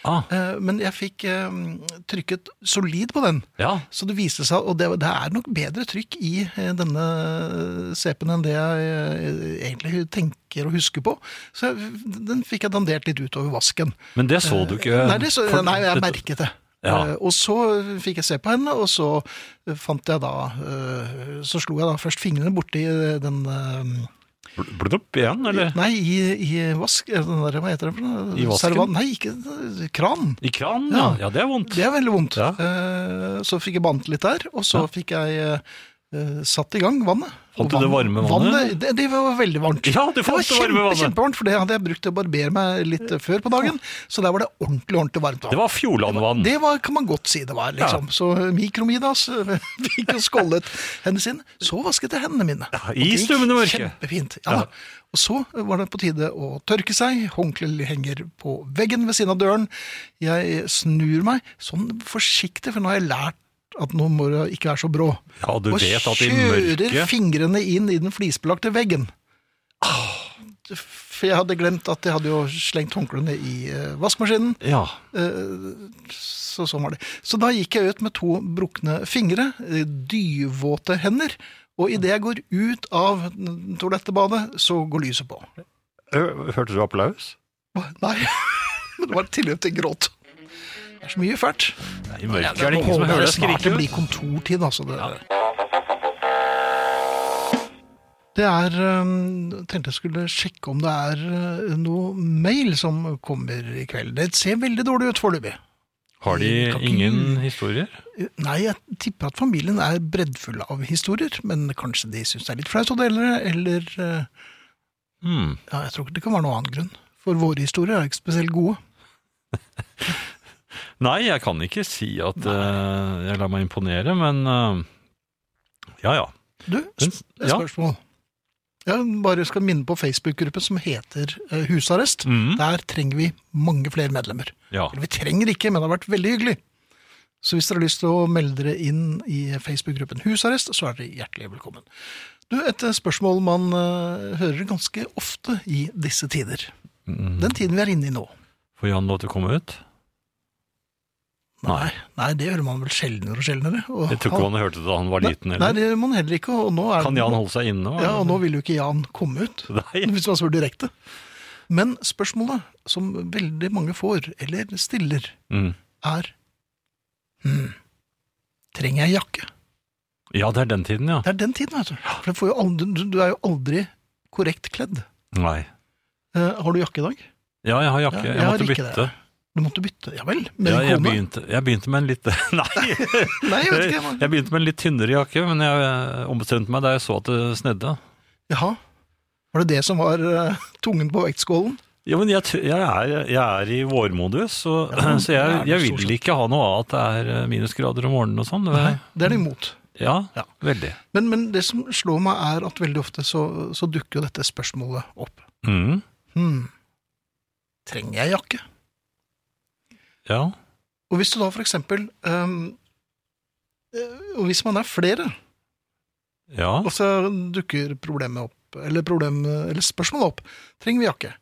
[SPEAKER 3] Ah,
[SPEAKER 2] Eh, men jeg fikk eh, trykket solid på den.
[SPEAKER 3] ja.
[SPEAKER 2] Så det viste seg, og det, det er nok bedre trykk i eh, denne CP-en enn det jeg eh, egentlig tenker og husker på. Så jeg, den fikk jeg dandert litt utover vasken.
[SPEAKER 3] Men det så du ikke?
[SPEAKER 2] Eh, Nei, det, så,
[SPEAKER 3] for-
[SPEAKER 2] nei jeg
[SPEAKER 3] dette-
[SPEAKER 2] merket det.
[SPEAKER 3] Ja.
[SPEAKER 2] Eh, Og så fikk jeg se på henne, og så fant jeg da eh, Så slo jeg da først fingrene borti den eh,
[SPEAKER 3] Bl- Blup igjen, eller?
[SPEAKER 2] Nei, i, i vask... eh, Den der, hva heter det for noe?
[SPEAKER 3] I vasken?
[SPEAKER 2] Servan- Nei, ikke kran.
[SPEAKER 3] I kranen, ja.
[SPEAKER 2] Ja.
[SPEAKER 3] ja. Det er vondt.
[SPEAKER 2] Det er veldig vondt.
[SPEAKER 3] Ja.
[SPEAKER 2] Eh, Så fikk jeg bannet litt der, og så
[SPEAKER 3] Ja.
[SPEAKER 2] fikk jeg eh, satt i gang vannet. Og
[SPEAKER 3] Fant du det
[SPEAKER 2] vann-
[SPEAKER 3] varme vannet?
[SPEAKER 2] det, det var veldig varmt.
[SPEAKER 3] Ja, du fant det varme vannet.
[SPEAKER 2] kjempevarmt, for det hadde jeg brukt til å barbere meg litt eh, før på dagen. Så der var det ordentlig, ordentlig varmt
[SPEAKER 3] Det
[SPEAKER 2] vann.
[SPEAKER 3] var Fjordlandvann.
[SPEAKER 2] Det var, kan man godt si det var, liksom. Så Mikromidas eh, fikk jo skålet hendene sine. Så vasket jeg hendene mine.
[SPEAKER 3] Ja, i
[SPEAKER 2] Og det gikk
[SPEAKER 3] stummende mørke.
[SPEAKER 2] Kjempefint. Ja, da. Og så var det på tide å tørke seg. Håndkleet henger på veggen ved siden av døren. Jeg snur meg sånn forsiktig, for nå har jeg lært at nå må du ikke være så brå.
[SPEAKER 3] Ja, du
[SPEAKER 2] og
[SPEAKER 3] vet at i
[SPEAKER 2] kjører
[SPEAKER 3] mørket Ah.
[SPEAKER 2] fingrene inn i den flisbelagte veggen. For jeg hadde glemt at jeg hadde jo slengt håndklærne i eh, vaskemaskinen.
[SPEAKER 3] Ja.
[SPEAKER 2] Eh, Så sånn var det. Så da gikk jeg ut med to brukne fingre, eh, dyvåte hender. Og idet jeg går ut av toalettebadet, så går lyset på.
[SPEAKER 3] Ø, Hørte du applaus?
[SPEAKER 2] Nei. Det var tilløp til gråt. Det er så mye fælt.
[SPEAKER 3] Nei, i mørket er det ingen som
[SPEAKER 2] Håper
[SPEAKER 3] hører deg
[SPEAKER 2] snart det
[SPEAKER 3] skrike.
[SPEAKER 2] blir
[SPEAKER 3] vet du.
[SPEAKER 2] kontortid, altså. Det, det er øhm, Tenkte jeg skulle sjekke om det er øh, noe mail som kommer i kveld. Det ser veldig dårlig ut foreløpig.
[SPEAKER 3] Har de
[SPEAKER 2] Kan ikke-
[SPEAKER 3] ingen historier?
[SPEAKER 2] Nei, jeg tipper at familien er breddfull av historier, men kanskje de syns det er litt flaut å dele det, eller øh,
[SPEAKER 3] Hmm.
[SPEAKER 2] Ja, jeg tror ikke det kan være noen annen grunn. For våre historier er ikke spesielt gode.
[SPEAKER 3] Nei, jeg kan ikke si at eh, jeg lar meg imponere, men eh, ja, ja.
[SPEAKER 2] Du,
[SPEAKER 3] Den-
[SPEAKER 2] sp- et
[SPEAKER 3] ja.
[SPEAKER 2] spørsmål. Jeg bare skal minne på Facebook-gruppen som heter eh, Husarrest.
[SPEAKER 3] Mhm.
[SPEAKER 2] Der trenger vi mange flere medlemmer.
[SPEAKER 3] ja.
[SPEAKER 2] Eller vi trenger ikke, men det har vært veldig hyggelig. Så hvis dere har lyst til å melde dere inn i Facebook-gruppen Husarrest, så er dere hjertelig velkommen. Du, Et eh, spørsmål man eh, hører ganske ofte i disse tider.
[SPEAKER 3] Mhm.
[SPEAKER 2] Den tiden vi er inne i nå.
[SPEAKER 3] Får Jan lov til å komme ut? Nei.
[SPEAKER 2] Nei, det hører man vel sjeldnere og sjeldnere. Og
[SPEAKER 3] Jeg tror ikke han hørte det da han var liten.
[SPEAKER 2] Nei,
[SPEAKER 3] Eller?
[SPEAKER 2] det gjør man heller ikke. Og nå er
[SPEAKER 3] Kan Jan holde seg inne? hva?
[SPEAKER 2] Ja, og nå vil jo ikke Jan komme ut,
[SPEAKER 3] Nei.
[SPEAKER 2] hvis man spør direkte. Men spørsmålet som veldig mange får, eller stiller,
[SPEAKER 3] Mhm.
[SPEAKER 2] er hmm, Trenger jeg jakke?
[SPEAKER 3] Ja, det er den tiden, ja.
[SPEAKER 2] Det er den tiden, vet du. For du, får jo aldri, du, du er jo aldri korrekt kledd.
[SPEAKER 3] Nei.
[SPEAKER 2] Eh, har du jakke i dag?
[SPEAKER 3] Ja, jeg har jakke.
[SPEAKER 2] Ja,
[SPEAKER 3] jeg,
[SPEAKER 2] jeg har
[SPEAKER 3] måtte
[SPEAKER 2] ikke
[SPEAKER 3] bytte.
[SPEAKER 2] Du måtte bytte. Ja vel? Med
[SPEAKER 3] Ja,
[SPEAKER 2] en
[SPEAKER 3] jeg,
[SPEAKER 2] kone?
[SPEAKER 3] begynte, jeg begynte med en litt Nei!
[SPEAKER 2] Nei, jeg vet ikke.
[SPEAKER 3] Jeg begynte med en litt tynnere jakke, men jeg eh, ombestemte meg da jeg så at det snedde.
[SPEAKER 2] Jaha. Var det det som var eh, tungen på vektskålen?
[SPEAKER 3] Ja, men jeg, t- jeg, er, jeg er i vårmodus, så,
[SPEAKER 2] Ja,
[SPEAKER 3] så
[SPEAKER 2] det
[SPEAKER 3] jeg,
[SPEAKER 2] er du
[SPEAKER 3] jeg
[SPEAKER 2] stort
[SPEAKER 3] vil
[SPEAKER 2] sett.
[SPEAKER 3] ikke ha noe av at det er eh, minusgrader om morgenen og sånn. Det-
[SPEAKER 2] Nei, Det er det imot.
[SPEAKER 3] Ja,
[SPEAKER 2] Ja.
[SPEAKER 3] veldig.
[SPEAKER 2] Men, men det som slår meg, er at veldig ofte så, så dukker jo dette spørsmålet opp.
[SPEAKER 3] Mm,
[SPEAKER 2] Hmm. Trenger jeg jakke?
[SPEAKER 3] ja.
[SPEAKER 2] Og hvis du da for eksempel ehm, eh, Og hvis man er flere,
[SPEAKER 3] ja.
[SPEAKER 2] og så dukker problemet opp, eller, problem, eller spørsmålet opp Trenger vi jakke?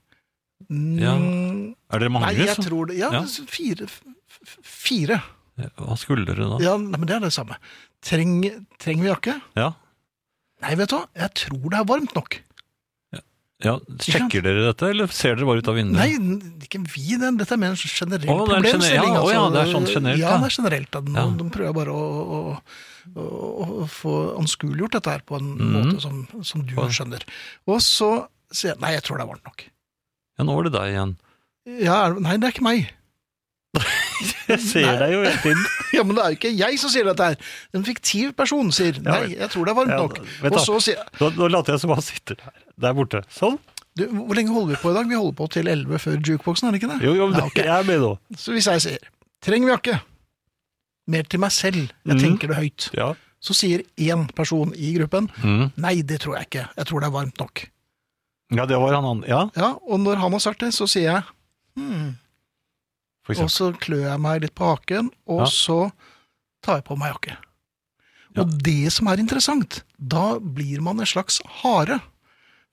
[SPEAKER 2] Mm,
[SPEAKER 3] Ja, Er dere mange?
[SPEAKER 2] nei, jeg
[SPEAKER 3] så-
[SPEAKER 2] tror det Ja,
[SPEAKER 3] Ja.
[SPEAKER 2] fire. f- f- Fire.
[SPEAKER 3] Hva skulle dere da?
[SPEAKER 2] Ja, nei, men det er det samme. Treng, trenger vi jakke?
[SPEAKER 3] Ja.
[SPEAKER 2] Nei, vet du hva, jeg tror det er varmt nok.
[SPEAKER 3] Ja, Sjekker dere dette, eller ser dere bare ut av vinduet?
[SPEAKER 2] Nei, n- ikke vi den. Dette er mer en generell
[SPEAKER 3] Å, det er en
[SPEAKER 2] problemstilling. altså.
[SPEAKER 3] gener- ja, å ja, det er sånn generelt,
[SPEAKER 2] Ja,
[SPEAKER 3] ja.
[SPEAKER 2] det er generelt. da. Nå,
[SPEAKER 3] Ja.
[SPEAKER 2] De prøver bare å, å, å, å få anskueliggjort dette her på en
[SPEAKER 3] Mhm.
[SPEAKER 2] måte som, som du
[SPEAKER 3] Ja.
[SPEAKER 2] skjønner. Og så sier jeg nei, jeg tror det er varmt nok.
[SPEAKER 3] Ja, nå var det deg igjen.
[SPEAKER 2] Ja, er det- nei, det er ikke meg.
[SPEAKER 3] Jeg ser deg jo hele tiden.
[SPEAKER 2] Ja, Men det er jo ikke jeg som sier dette her. En fiktiv person sier nei, jeg tror det er varmt
[SPEAKER 3] Ja,
[SPEAKER 2] nok.
[SPEAKER 3] vet
[SPEAKER 2] Og
[SPEAKER 3] da.
[SPEAKER 2] så sier jeg
[SPEAKER 3] Nå, nå later jeg som han sitter der, der borte. Sånn.
[SPEAKER 2] du, Hvor lenge holder vi på i dag? Vi holder på til 11 før jukeboxen, er det ikke det?
[SPEAKER 3] Jo, jo, men
[SPEAKER 2] Ja, ok.
[SPEAKER 3] jeg er med nå.
[SPEAKER 2] Så hvis jeg sier 'trenger vi jakke', mer til meg selv, jeg
[SPEAKER 3] Mhm.
[SPEAKER 2] tenker det høyt.
[SPEAKER 3] Ja.
[SPEAKER 2] Så sier én person i gruppen
[SPEAKER 3] Mm.
[SPEAKER 2] nei, det tror jeg ikke, jeg tror det er varmt nok.
[SPEAKER 3] ja, det var han andre. Ja,
[SPEAKER 2] Ja, Og når han har sagt det, så sier jeg hmm.
[SPEAKER 3] for
[SPEAKER 2] Og
[SPEAKER 3] eksempel.
[SPEAKER 2] så klør jeg meg litt på haken, og
[SPEAKER 3] Ja.
[SPEAKER 2] så tar jeg på meg jakke.
[SPEAKER 3] Ja.
[SPEAKER 2] Og det som er interessant, da blir man en slags hare.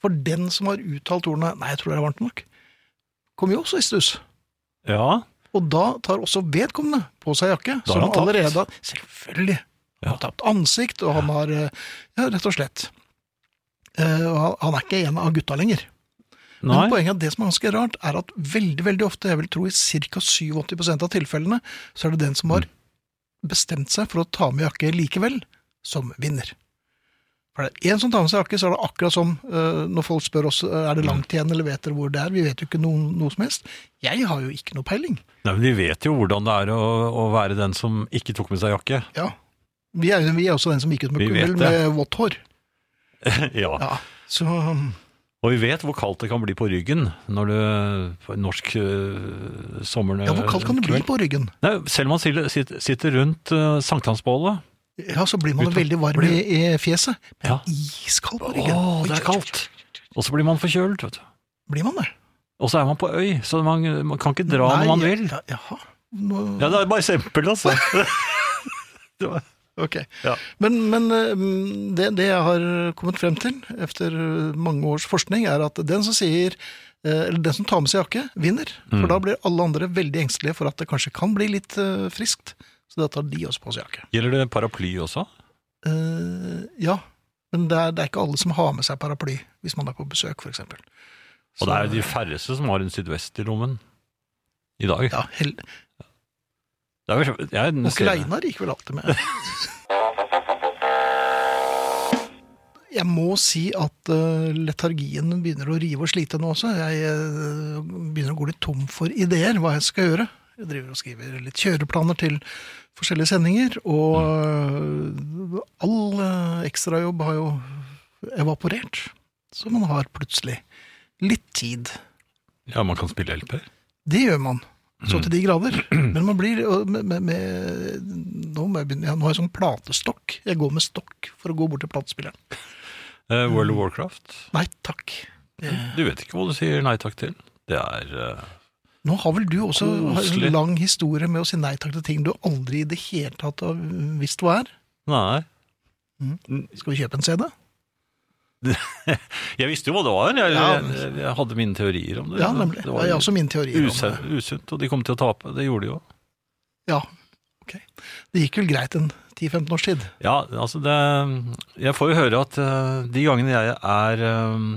[SPEAKER 2] For den som har uttalt ordene 'nei, jeg tror det er varmt nok', kommer jo også i stuss.
[SPEAKER 3] Ja,
[SPEAKER 2] Og da tar også vedkommende på seg jakke,
[SPEAKER 3] Da har
[SPEAKER 2] som
[SPEAKER 3] han tapt.
[SPEAKER 2] allerede har Selvfølgelig. Han har tapt ansikt, og han har eh, Ja, rett og slett. Eh, og han- han er ikke en av gutta lenger. Men
[SPEAKER 3] nei.
[SPEAKER 2] poenget er at det som er ganske rart, er at veldig veldig ofte, jeg vil tro i ca. 87 av tilfellene, så er det den som
[SPEAKER 3] Mm.
[SPEAKER 2] har bestemt seg for å ta med jakke likevel, som vinner. For det er én som tar med seg jakke, så er det akkurat som eh, når folk spør oss eh, er
[SPEAKER 3] Mm.
[SPEAKER 2] det langt igjen, eller vet dere hvor det er. Vi vet jo ikke noe, noe som helst. Jeg har jo ikke noe peiling.
[SPEAKER 3] nei, men vi vet jo hvordan det er å, å være den som ikke tok med seg jakke.
[SPEAKER 2] Ja. Vi er, vi er også den som gikk ut med,
[SPEAKER 3] Vi vet
[SPEAKER 2] vel,
[SPEAKER 3] det.
[SPEAKER 2] med vått hår.
[SPEAKER 3] ja.
[SPEAKER 2] Ja. Så um,
[SPEAKER 3] Og vi vet hvor kaldt det kan bli på ryggen når du på en norsk øh, sommer...
[SPEAKER 2] ja, hvor kaldt kan det bli på ryggen?
[SPEAKER 3] Nei, selv om man sitter- sitter sitter rundt uh, sankthansbålet.
[SPEAKER 2] Ja, så blir man
[SPEAKER 3] Ut-
[SPEAKER 2] veldig varm i, i fjeset.
[SPEAKER 3] Ja.
[SPEAKER 2] Iskald på
[SPEAKER 3] Å,
[SPEAKER 2] ryggen. Oi,
[SPEAKER 3] det
[SPEAKER 2] oi,
[SPEAKER 3] er
[SPEAKER 2] oi,
[SPEAKER 3] kaldt. Og så blir man forkjølt, vet du.
[SPEAKER 2] oi. Blir man det?
[SPEAKER 3] Og så er man på øy, så man, man kan ikke dra når man vil.
[SPEAKER 2] Ja, jaha. Nå,
[SPEAKER 3] Ja, det er bare eksempel, altså. Det var-
[SPEAKER 2] Ok.
[SPEAKER 3] Ja.
[SPEAKER 2] Men, men eh, det, det jeg har kommet frem til etter mange års forskning, er at den som sier eh, eller den som tar med seg jakke, vinner.
[SPEAKER 3] Mm.
[SPEAKER 2] For da blir alle andre veldig engstelige for at det kanskje kan bli litt eh, friskt. Så da tar de også på seg jakke.
[SPEAKER 3] Gjelder det paraply også?
[SPEAKER 2] Eh, ja, men det er, det er ikke alle som har med seg paraply hvis man er på besøk, f.eks.
[SPEAKER 3] Og det er jo de færreste som har en sydvest i lommen i dag.
[SPEAKER 2] Ja, hel...
[SPEAKER 3] Det er vel, jeg,
[SPEAKER 2] Onkel Einar gikk vel alltid med. Jeg må si at eh, letargien begynner å rive og slite nå også. Jeg eh, begynner å gå litt tom for ideer hva jeg skal gjøre. Jeg driver og skriver litt kjøreplaner til forskjellige sendinger, og eh, all eh, ekstrajobb har jo evaporert. Så man har plutselig litt tid.
[SPEAKER 3] ja, man kan spille LP.
[SPEAKER 2] Det gjør man. Så
[SPEAKER 3] Mm.
[SPEAKER 2] til de grader. Men man blir og med, med, med, Nå må jeg begynne. Ja, nå har jeg sånn platestokk. Jeg går med stokk for å gå bort til platespilleren.
[SPEAKER 3] Eh, World of Warcraft.
[SPEAKER 2] Nei takk. Det-
[SPEAKER 3] Du vet ikke hva du sier nei takk til. Det er eh,
[SPEAKER 2] Nå har vel du også har
[SPEAKER 3] Koselig.
[SPEAKER 2] en lang historie med å si nei takk til ting du aldri i det hele tatt har visst hva er. Mm.
[SPEAKER 3] Nei. Mm.
[SPEAKER 2] Skal vi kjøpe en CD?
[SPEAKER 3] Jeg visste jo hva det var. Jeg,
[SPEAKER 2] Ja,
[SPEAKER 3] jeg, jeg, hadde mine teorier om det.
[SPEAKER 2] Ja, nemlig. Det
[SPEAKER 3] Det var
[SPEAKER 2] er også min teori. om
[SPEAKER 3] use-
[SPEAKER 2] det.
[SPEAKER 3] usunt, og de kom til å tape. Det gjorde de jo.
[SPEAKER 2] Ja, ok. Det gikk vel greit en 10-15 års tid.
[SPEAKER 3] Ja, altså det Jeg får jo høre at eh, de gangene jeg er eh,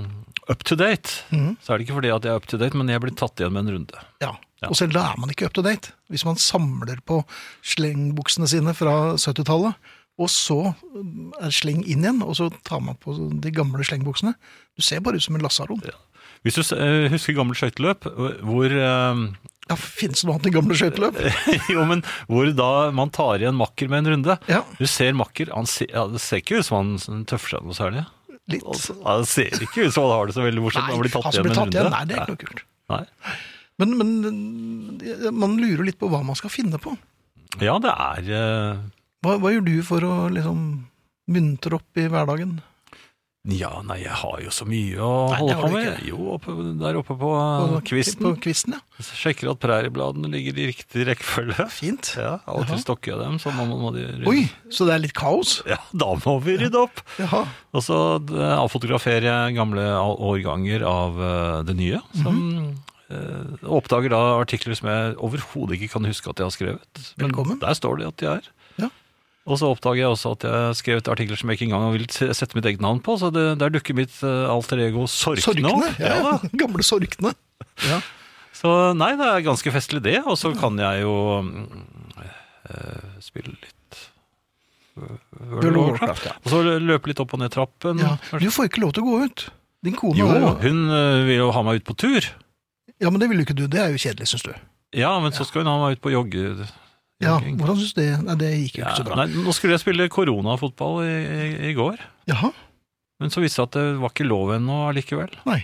[SPEAKER 3] up to date,
[SPEAKER 2] Mhm.
[SPEAKER 3] så er det ikke fordi at jeg er up to date, men jeg blir tatt igjen med en runde.
[SPEAKER 2] Ja.
[SPEAKER 3] Ja.
[SPEAKER 2] Og selv da er man ikke up to date. Hvis man samler på slengbuksene sine fra 70-tallet, og så um, er sleng inn igjen, og så tar man på de gamle slengbuksene Du ser bare ut som en lasaron.
[SPEAKER 3] Hvis du s- eh, husker gammelt skøyteløp, hvor eh,
[SPEAKER 2] Ja, finnes det noe annet enn gamle skøyteløp?
[SPEAKER 3] Jo, men hvor da man tar igjen makker med en runde.
[SPEAKER 2] Ja,
[SPEAKER 3] Du ser makker, han ser, ja, det ser ikke ut som han tøffer seg noe særlig.
[SPEAKER 2] litt.
[SPEAKER 3] Altså, han ser ikke ut som han har det så veldig morsomt. Han blir tatt
[SPEAKER 2] altså,
[SPEAKER 3] igjen med en runde.
[SPEAKER 2] Nei, det er ikke noe kult.
[SPEAKER 3] Nei.
[SPEAKER 2] Men, men um, man lurer litt på hva man skal finne på.
[SPEAKER 3] Ja, det er eh,
[SPEAKER 2] Hva, hva gjør du for å liksom muntre opp i hverdagen?
[SPEAKER 3] Ja, nei, jeg har jo så mye å
[SPEAKER 2] Nei, det
[SPEAKER 3] holde
[SPEAKER 2] har
[SPEAKER 3] på
[SPEAKER 2] du
[SPEAKER 3] med.
[SPEAKER 2] ikke.
[SPEAKER 3] Jo, oppe, der oppe på,
[SPEAKER 2] På-
[SPEAKER 3] eh, kvisten.
[SPEAKER 2] På kvisten, ja.
[SPEAKER 3] Så sjekker at præriebladene ligger i riktig rekkefølge.
[SPEAKER 2] Fint.
[SPEAKER 3] Ja, Av og til stokker jeg dem, så må, må de rydde.
[SPEAKER 2] Oi, så det er litt kaos?
[SPEAKER 3] Ja, da må vi rydde opp!
[SPEAKER 2] Jaha.
[SPEAKER 3] Og så eh, avfotograferer jeg gamle a- årganger av eh, det nye. Som
[SPEAKER 2] Mhm.
[SPEAKER 3] eh, oppdager da artikler som jeg overhodet ikke kan huske at jeg har skrevet. Men
[SPEAKER 2] Velkommen.
[SPEAKER 3] der står det at de er.
[SPEAKER 2] Ja.
[SPEAKER 3] Og så oppdager jeg også at jeg har skrevet artikler som jeg ikke engang vil se- sette mitt eget navn på. Så det, der dukker mitt eh, alter ego Sorkne
[SPEAKER 2] Sorkene.
[SPEAKER 3] opp.
[SPEAKER 2] Ja,
[SPEAKER 3] da.
[SPEAKER 2] Gamle sorkene.
[SPEAKER 3] Så nei, det er ganske festlig det, og så kan jeg jo mm, eh, spille litt World of Warcraft. Og så løpe litt opp og ned trappen.
[SPEAKER 2] Ja.
[SPEAKER 3] kanskje.
[SPEAKER 2] Du får ikke lov til å gå ut. Din kone
[SPEAKER 3] Jo,
[SPEAKER 2] har jo
[SPEAKER 3] hun eh, vil jo ha meg ut på tur.
[SPEAKER 2] Ja, men det vil jo ikke du. Det er jo kjedelig, syns du.
[SPEAKER 3] Ja, men så skal hun ha meg ut på jogge...
[SPEAKER 2] Ja,
[SPEAKER 3] jogging.
[SPEAKER 2] hvordan syns du det Nei, det gikk jo ikke
[SPEAKER 3] Ja,
[SPEAKER 2] så bra.
[SPEAKER 3] Nei, nå skulle jeg spille koronafotball i, i, i går,
[SPEAKER 2] Jaha.
[SPEAKER 3] men så viste det seg at det var ikke lov ennå allikevel.
[SPEAKER 2] Nei.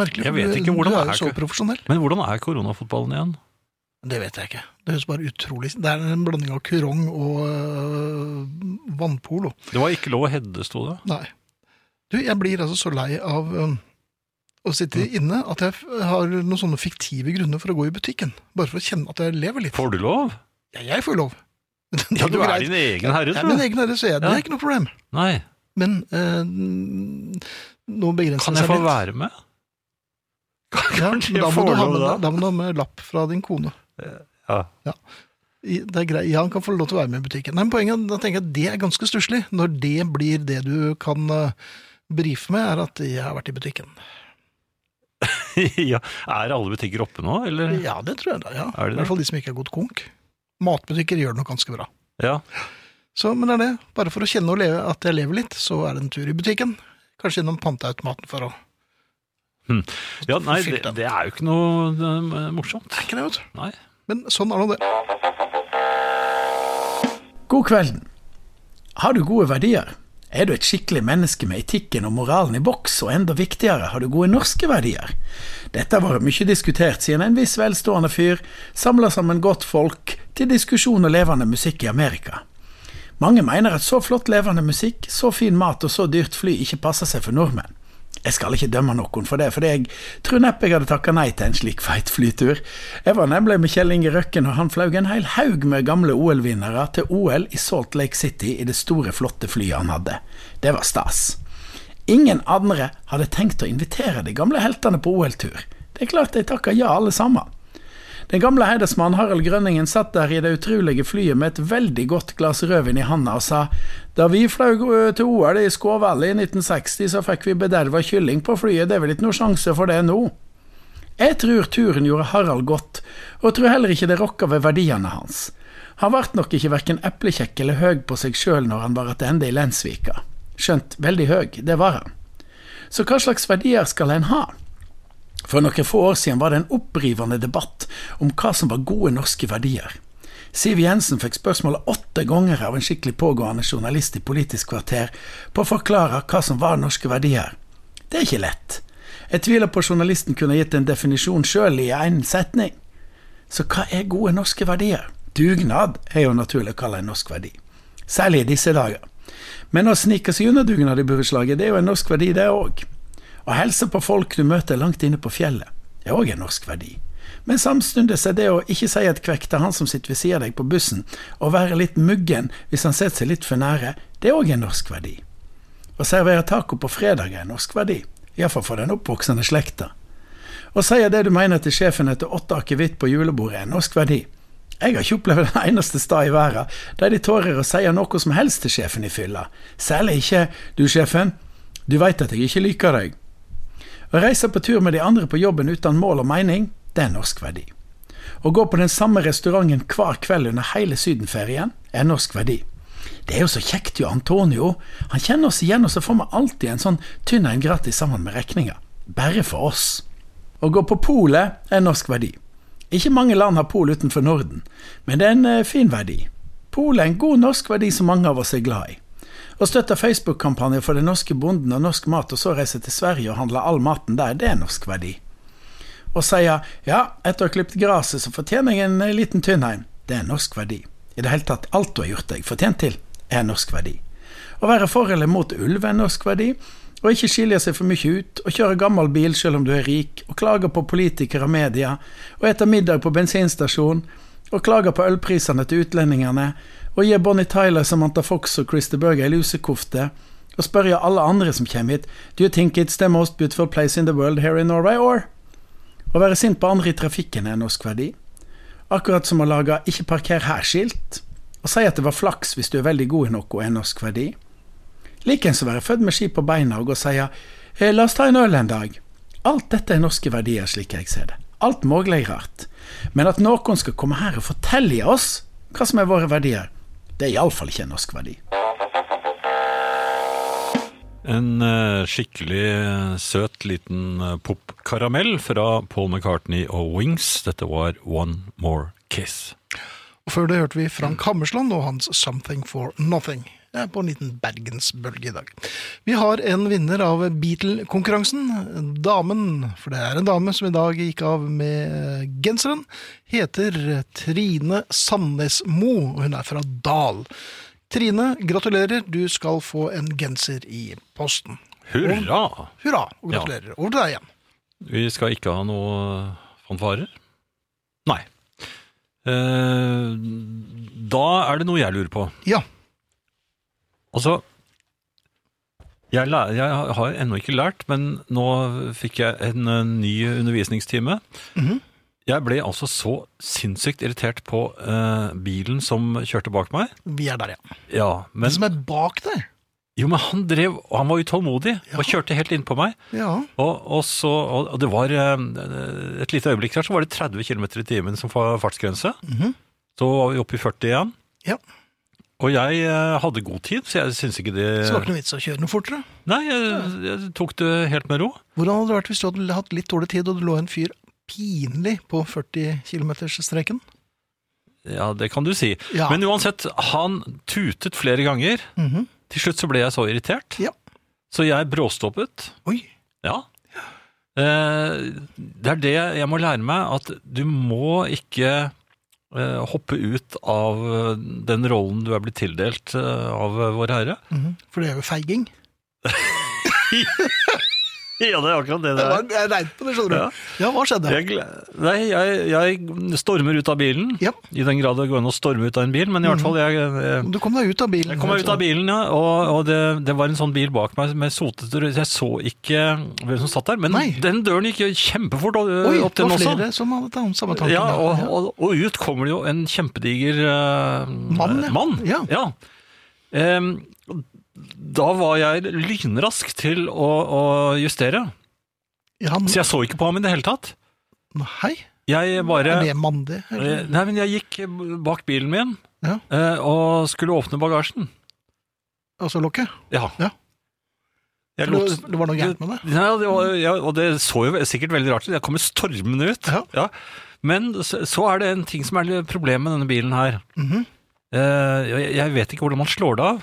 [SPEAKER 2] Merkelig.
[SPEAKER 3] Jeg
[SPEAKER 2] for
[SPEAKER 3] vet
[SPEAKER 2] du-
[SPEAKER 3] ikke hvordan
[SPEAKER 2] Du er
[SPEAKER 3] det er,
[SPEAKER 2] jo så
[SPEAKER 3] ikke?
[SPEAKER 2] profesjonell.
[SPEAKER 3] Men hvordan er koronafotballen igjen?
[SPEAKER 2] Det vet jeg ikke. Det høres bare utrolig Det er en blanding av kurong og øh, vannpolo.
[SPEAKER 3] Det var ikke lov å hedde, sto det.
[SPEAKER 2] Nei. Du, jeg blir altså så lei av øhm, å sitte
[SPEAKER 3] Mm.
[SPEAKER 2] inne at jeg f- har noen sånne fiktive grunner for å gå i butikken. Bare for å kjenne at jeg lever litt.
[SPEAKER 3] Får du lov?
[SPEAKER 2] Ja, jeg får jo lov. Det
[SPEAKER 3] Ja,
[SPEAKER 2] går
[SPEAKER 3] du er
[SPEAKER 2] greit.
[SPEAKER 3] din egen herre,
[SPEAKER 2] Jeg er min
[SPEAKER 3] du.
[SPEAKER 2] egen herre, så jeg, det
[SPEAKER 3] Ja.
[SPEAKER 2] er ikke noe problem.
[SPEAKER 3] Nei.
[SPEAKER 2] Men eh, nå begrenser
[SPEAKER 3] Kan
[SPEAKER 2] det
[SPEAKER 3] jeg
[SPEAKER 2] seg
[SPEAKER 3] få
[SPEAKER 2] litt.
[SPEAKER 3] være med?
[SPEAKER 2] Ja,
[SPEAKER 3] Kanskje
[SPEAKER 2] men da,
[SPEAKER 3] jeg
[SPEAKER 2] må
[SPEAKER 3] får
[SPEAKER 2] du ha
[SPEAKER 3] lov
[SPEAKER 2] med,
[SPEAKER 3] da?
[SPEAKER 2] da må du ha med lapp fra din kone.
[SPEAKER 3] Ja.
[SPEAKER 2] I- Det er greit. Ja, han kan få lov til å være med i butikken. Nei, men poenget er- da tenker jeg at det er ganske stusslig. Når det blir det du kan eh, brife med, er at jeg har vært i butikken.
[SPEAKER 3] ja. Er alle butikker oppe nå, eller?
[SPEAKER 2] Ja, det tror jeg da. ja.
[SPEAKER 3] Er
[SPEAKER 2] I
[SPEAKER 3] det det?
[SPEAKER 2] hvert fall de som ikke er gått konk. Matbutikker gjør det nok ganske bra.
[SPEAKER 3] Ja.
[SPEAKER 2] Så, men det er det. Bare for å kjenne og leve at jeg lever litt, så er det en tur i butikken. Kanskje innom panteautomaten for å
[SPEAKER 3] ja nei, det,
[SPEAKER 2] Fylt den.
[SPEAKER 3] det er jo ikke noe eh, morsomt.
[SPEAKER 2] Ikke det, vet du.
[SPEAKER 3] Nei.
[SPEAKER 2] Men sånn er nå det.
[SPEAKER 4] God kvelden. Har du gode verdier? Er du et skikkelig menneske med etikken og moralen i boks, og enda viktigere, har du gode norske verdier? Dette har vært mye diskutert siden en viss velstående fyr samla sammen godt folk til diskusjon og levende musikk i Amerika. Mange mener at så flott levende musikk, så fin mat og så dyrt fly ikke passer seg for nordmenn. Jeg skal ikke dømme noen for det, for jeg tror neppe jeg hadde takka nei til en slik feit flytur. Jeg var nemlig med Kjell Inge Røkken, og han fløy en hel haug med gamle OL-vinnere til OL i Salt Lake City i det store, flotte flyet han hadde. Det var stas. Ingen andre hadde tenkt å invitere de gamle heltene på OL-tur. Det er klart de takka ja, alle sammen. Den gamle heidersmannen Harald Grønningen satt der i det utrolige flyet med et veldig godt glass rødvin i handa og sa da vi fløy ø, til OL i Skå Valley i 1960, så fikk vi bederva kylling på flyet, det er vel ikke noe sjanse for det nå. Jeg tror turen gjorde Harald godt, og tror heller ikke det rokka ved verdiene hans. Han vart nok ikke verken eplekjekk eller høg på seg sjøl når han var tilbake i Lensvika. Skjønt veldig høg, det var han. Så hva slags verdier skal en ha? For noen få år siden var det en opprivende debatt om hva som var gode norske verdier. Siv Jensen fikk spørsmålet åtte ganger av en skikkelig pågående journalist i Politisk kvarter på å forklare hva som var norske verdier. Det er ikke lett. Jeg tviler på journalisten kunne gitt en definisjon sjøl i én setning. Så hva er gode norske verdier? Dugnad er jo naturlig å kalle en norsk verdi. Særlig i disse dager. Men å snike seg unna dugnad i burettslaget, det er jo en norsk verdi, det òg. Å helse på folk du møter langt inne på fjellet, er òg en norsk verdi. Men samtidig er det å ikke si et kvekk til han som sitter ved siden av deg på bussen, og være litt muggen hvis han setter seg litt for nære, det er òg en norsk verdi. Å servere taco på fredag er en norsk verdi, iallfall for den oppvoksende slekta. Å si det du mener til sjefen etter åtte akevitt på julebordet, er en norsk verdi. Jeg har ikke opplevd det eneste sted i verden der de tårer å si noe som helst til sjefen i fylla, særlig ikke du, sjefen, du veit at jeg ikke liker deg. Å reise på tur med de andre på jobben uten mål og mening, det er en norsk verdi. Å gå på den samme restauranten hver kveld under hele sydenferien er en norsk verdi. Det er jo så kjekt, jo, Antonio. Han kjenner oss igjen, og så får vi alltid en sånn tynn en gratis sammen med regninga. Bare for oss. Å gå på polet er en norsk verdi. Ikke mange land har pol utenfor Norden, men det er en eh, fin verdi. Polet er en god norsk verdi som mange av oss er glad i. Å støtte Facebook-kampanjer for den norske bonden og norsk mat, og så reise til Sverige og handle all maten der, det er norsk verdi. Å si ja, etter å ha klippet gresset, så fortjener jeg en eh, liten Tynheim, det er norsk verdi. I det hele tatt, alt du har gjort deg fortjent til, er norsk verdi. Å være for eller mot ulv er norsk verdi, og ikke skille seg for mye ut, og kjøre gammel bil selv om du er rik, og klage på politikere og media, og ete middag på bensinstasjon, og klage på ølprisene til utlendingene, og gi Bonnie Tyler, Samantha Fox og Christer Berger ei lusekofte, og spørre alle andre som kommer hit, do you think it's the most beautiful place in the world here in Norway, or? Å være sint på andre i trafikken er en norsk verdi. Akkurat som å lage ikke parker her-skilt, og si at det var flaks hvis du er veldig god i noe, er en norsk verdi. Likens å være født med ski på beina og gå og si «Eh, la oss ta en øl en dag. Alt dette er norske verdier, slik jeg ser det. Alt mulig rart. Men at noen skal komme her og fortelle oss hva som er våre verdier, det er iallfall ikke en norsk verdi.
[SPEAKER 3] En eh, skikkelig eh, søt liten eh, popkaramell fra Paul McCartney og Wings. Dette var One More Kiss.
[SPEAKER 2] Og før det hørte vi Frank Hammersland og hans Something for Nothing. Jeg er på en liten bergensbølge i dag. Vi har en vinner av Beatle-konkurransen. Damen, for det er en dame som i dag gikk av med genseren, heter Trine Sandnesmo, og hun er fra Dal. Trine, gratulerer. Du skal få en genser i posten.
[SPEAKER 3] Hurra!
[SPEAKER 2] Hurra, og gratulerer. Over til deg igjen.
[SPEAKER 3] Vi skal ikke ha noe eh, fanfarer. Nei. Eh, da er det noe jeg lurer på.
[SPEAKER 2] Ja,
[SPEAKER 3] Altså jeg, læ- jeg har ennå ikke lært, men nå fikk jeg en eh, ny undervisningstime.
[SPEAKER 2] Mhm.
[SPEAKER 3] Jeg ble altså så sinnssykt irritert på eh, bilen som kjørte bak meg.
[SPEAKER 2] vi er der, ja.
[SPEAKER 3] Ja, men,
[SPEAKER 2] Den som er bak deg.
[SPEAKER 3] jo, men han drev, og han var utålmodig og kjørte helt inn på meg.
[SPEAKER 2] Ja.
[SPEAKER 3] Og, og, så, og og det var eh, et lite øyeblikk der, så var det 30 km i timen som var fartsgrense.
[SPEAKER 2] Mhm.
[SPEAKER 3] Så var vi oppe i 40 igjen.
[SPEAKER 2] Ja.
[SPEAKER 3] Og jeg eh, hadde god tid, så jeg syns ikke det
[SPEAKER 2] Så det var ikke noe vits å kjøre noe fortere.
[SPEAKER 3] Nei, jeg, jeg tok det helt med ro.
[SPEAKER 2] Hvordan hadde det vært hvis du hadde hatt litt dårlig tid, og det lå en fyr pinlig på 40 km-streken?
[SPEAKER 3] Ja, det kan du si.
[SPEAKER 2] Ja.
[SPEAKER 3] Men uansett, han tutet flere ganger.
[SPEAKER 2] Mhm.
[SPEAKER 3] Til slutt så ble jeg så irritert.
[SPEAKER 2] Ja.
[SPEAKER 3] Så jeg bråstoppet.
[SPEAKER 2] Oi.
[SPEAKER 3] Ja. Eh, det er det jeg må lære meg, at du må ikke eh, hoppe ut av eh, den rollen du er blitt tildelt
[SPEAKER 2] Mhm.
[SPEAKER 3] eh, av Vårherre.
[SPEAKER 2] For det er jo feiging.
[SPEAKER 3] ja, det er akkurat det det
[SPEAKER 2] Jeg
[SPEAKER 3] er.
[SPEAKER 2] var- jeg regnet på det, skjønner du. Ja, hva skjedde?
[SPEAKER 3] Jeg, gle- nei, jeg, jeg stormer ut av bilen.
[SPEAKER 2] Ja. Mm.
[SPEAKER 3] I den grad det går an å storme ut av en bil, men i hvert fall jeg, eh, jeg,
[SPEAKER 2] Du kom deg ut av bilen.
[SPEAKER 3] jeg kom meg ut av bilen, ja, og, og det, det var en sånn bil bak meg med sotete rød- Jeg så ikke hvem som satt der, men
[SPEAKER 2] Nei.
[SPEAKER 3] den døren gikk jo kjempefort ø,
[SPEAKER 2] Oi,
[SPEAKER 3] opp til
[SPEAKER 2] det
[SPEAKER 3] den
[SPEAKER 2] var
[SPEAKER 3] også.
[SPEAKER 2] flere som hadde den samme tanken.
[SPEAKER 3] Ja,
[SPEAKER 2] der.
[SPEAKER 3] og, og, og ut kommer det jo en kjempediger eh,
[SPEAKER 2] Mann, ja.
[SPEAKER 3] mann.
[SPEAKER 2] Ja.
[SPEAKER 3] Em, da var jeg lynrask til å, å justere,
[SPEAKER 2] Ja, han,
[SPEAKER 3] så jeg så ikke på ham i det hele tatt.
[SPEAKER 2] hei,
[SPEAKER 3] Jeg bare
[SPEAKER 2] er det mann det?
[SPEAKER 3] Eh,
[SPEAKER 2] eller?
[SPEAKER 3] Nei, men jeg gikk bak bilen min
[SPEAKER 2] Ja.
[SPEAKER 3] eh, og skulle åpne bagasjen.
[SPEAKER 2] Altså lokket?
[SPEAKER 3] Ja.
[SPEAKER 2] Ja.
[SPEAKER 3] Jeg
[SPEAKER 2] For
[SPEAKER 3] lot...
[SPEAKER 2] det, det var noe gærent med det?
[SPEAKER 3] Ja, det var, ja, og det så jo sikkert veldig rart ut. Jeg kommer stormende ut.
[SPEAKER 2] Ja.
[SPEAKER 3] Men så, så er det en ting som er litt problem med denne bilen her.
[SPEAKER 2] Mhm.
[SPEAKER 3] Eh, jeg, jeg vet ikke hvordan man slår det av,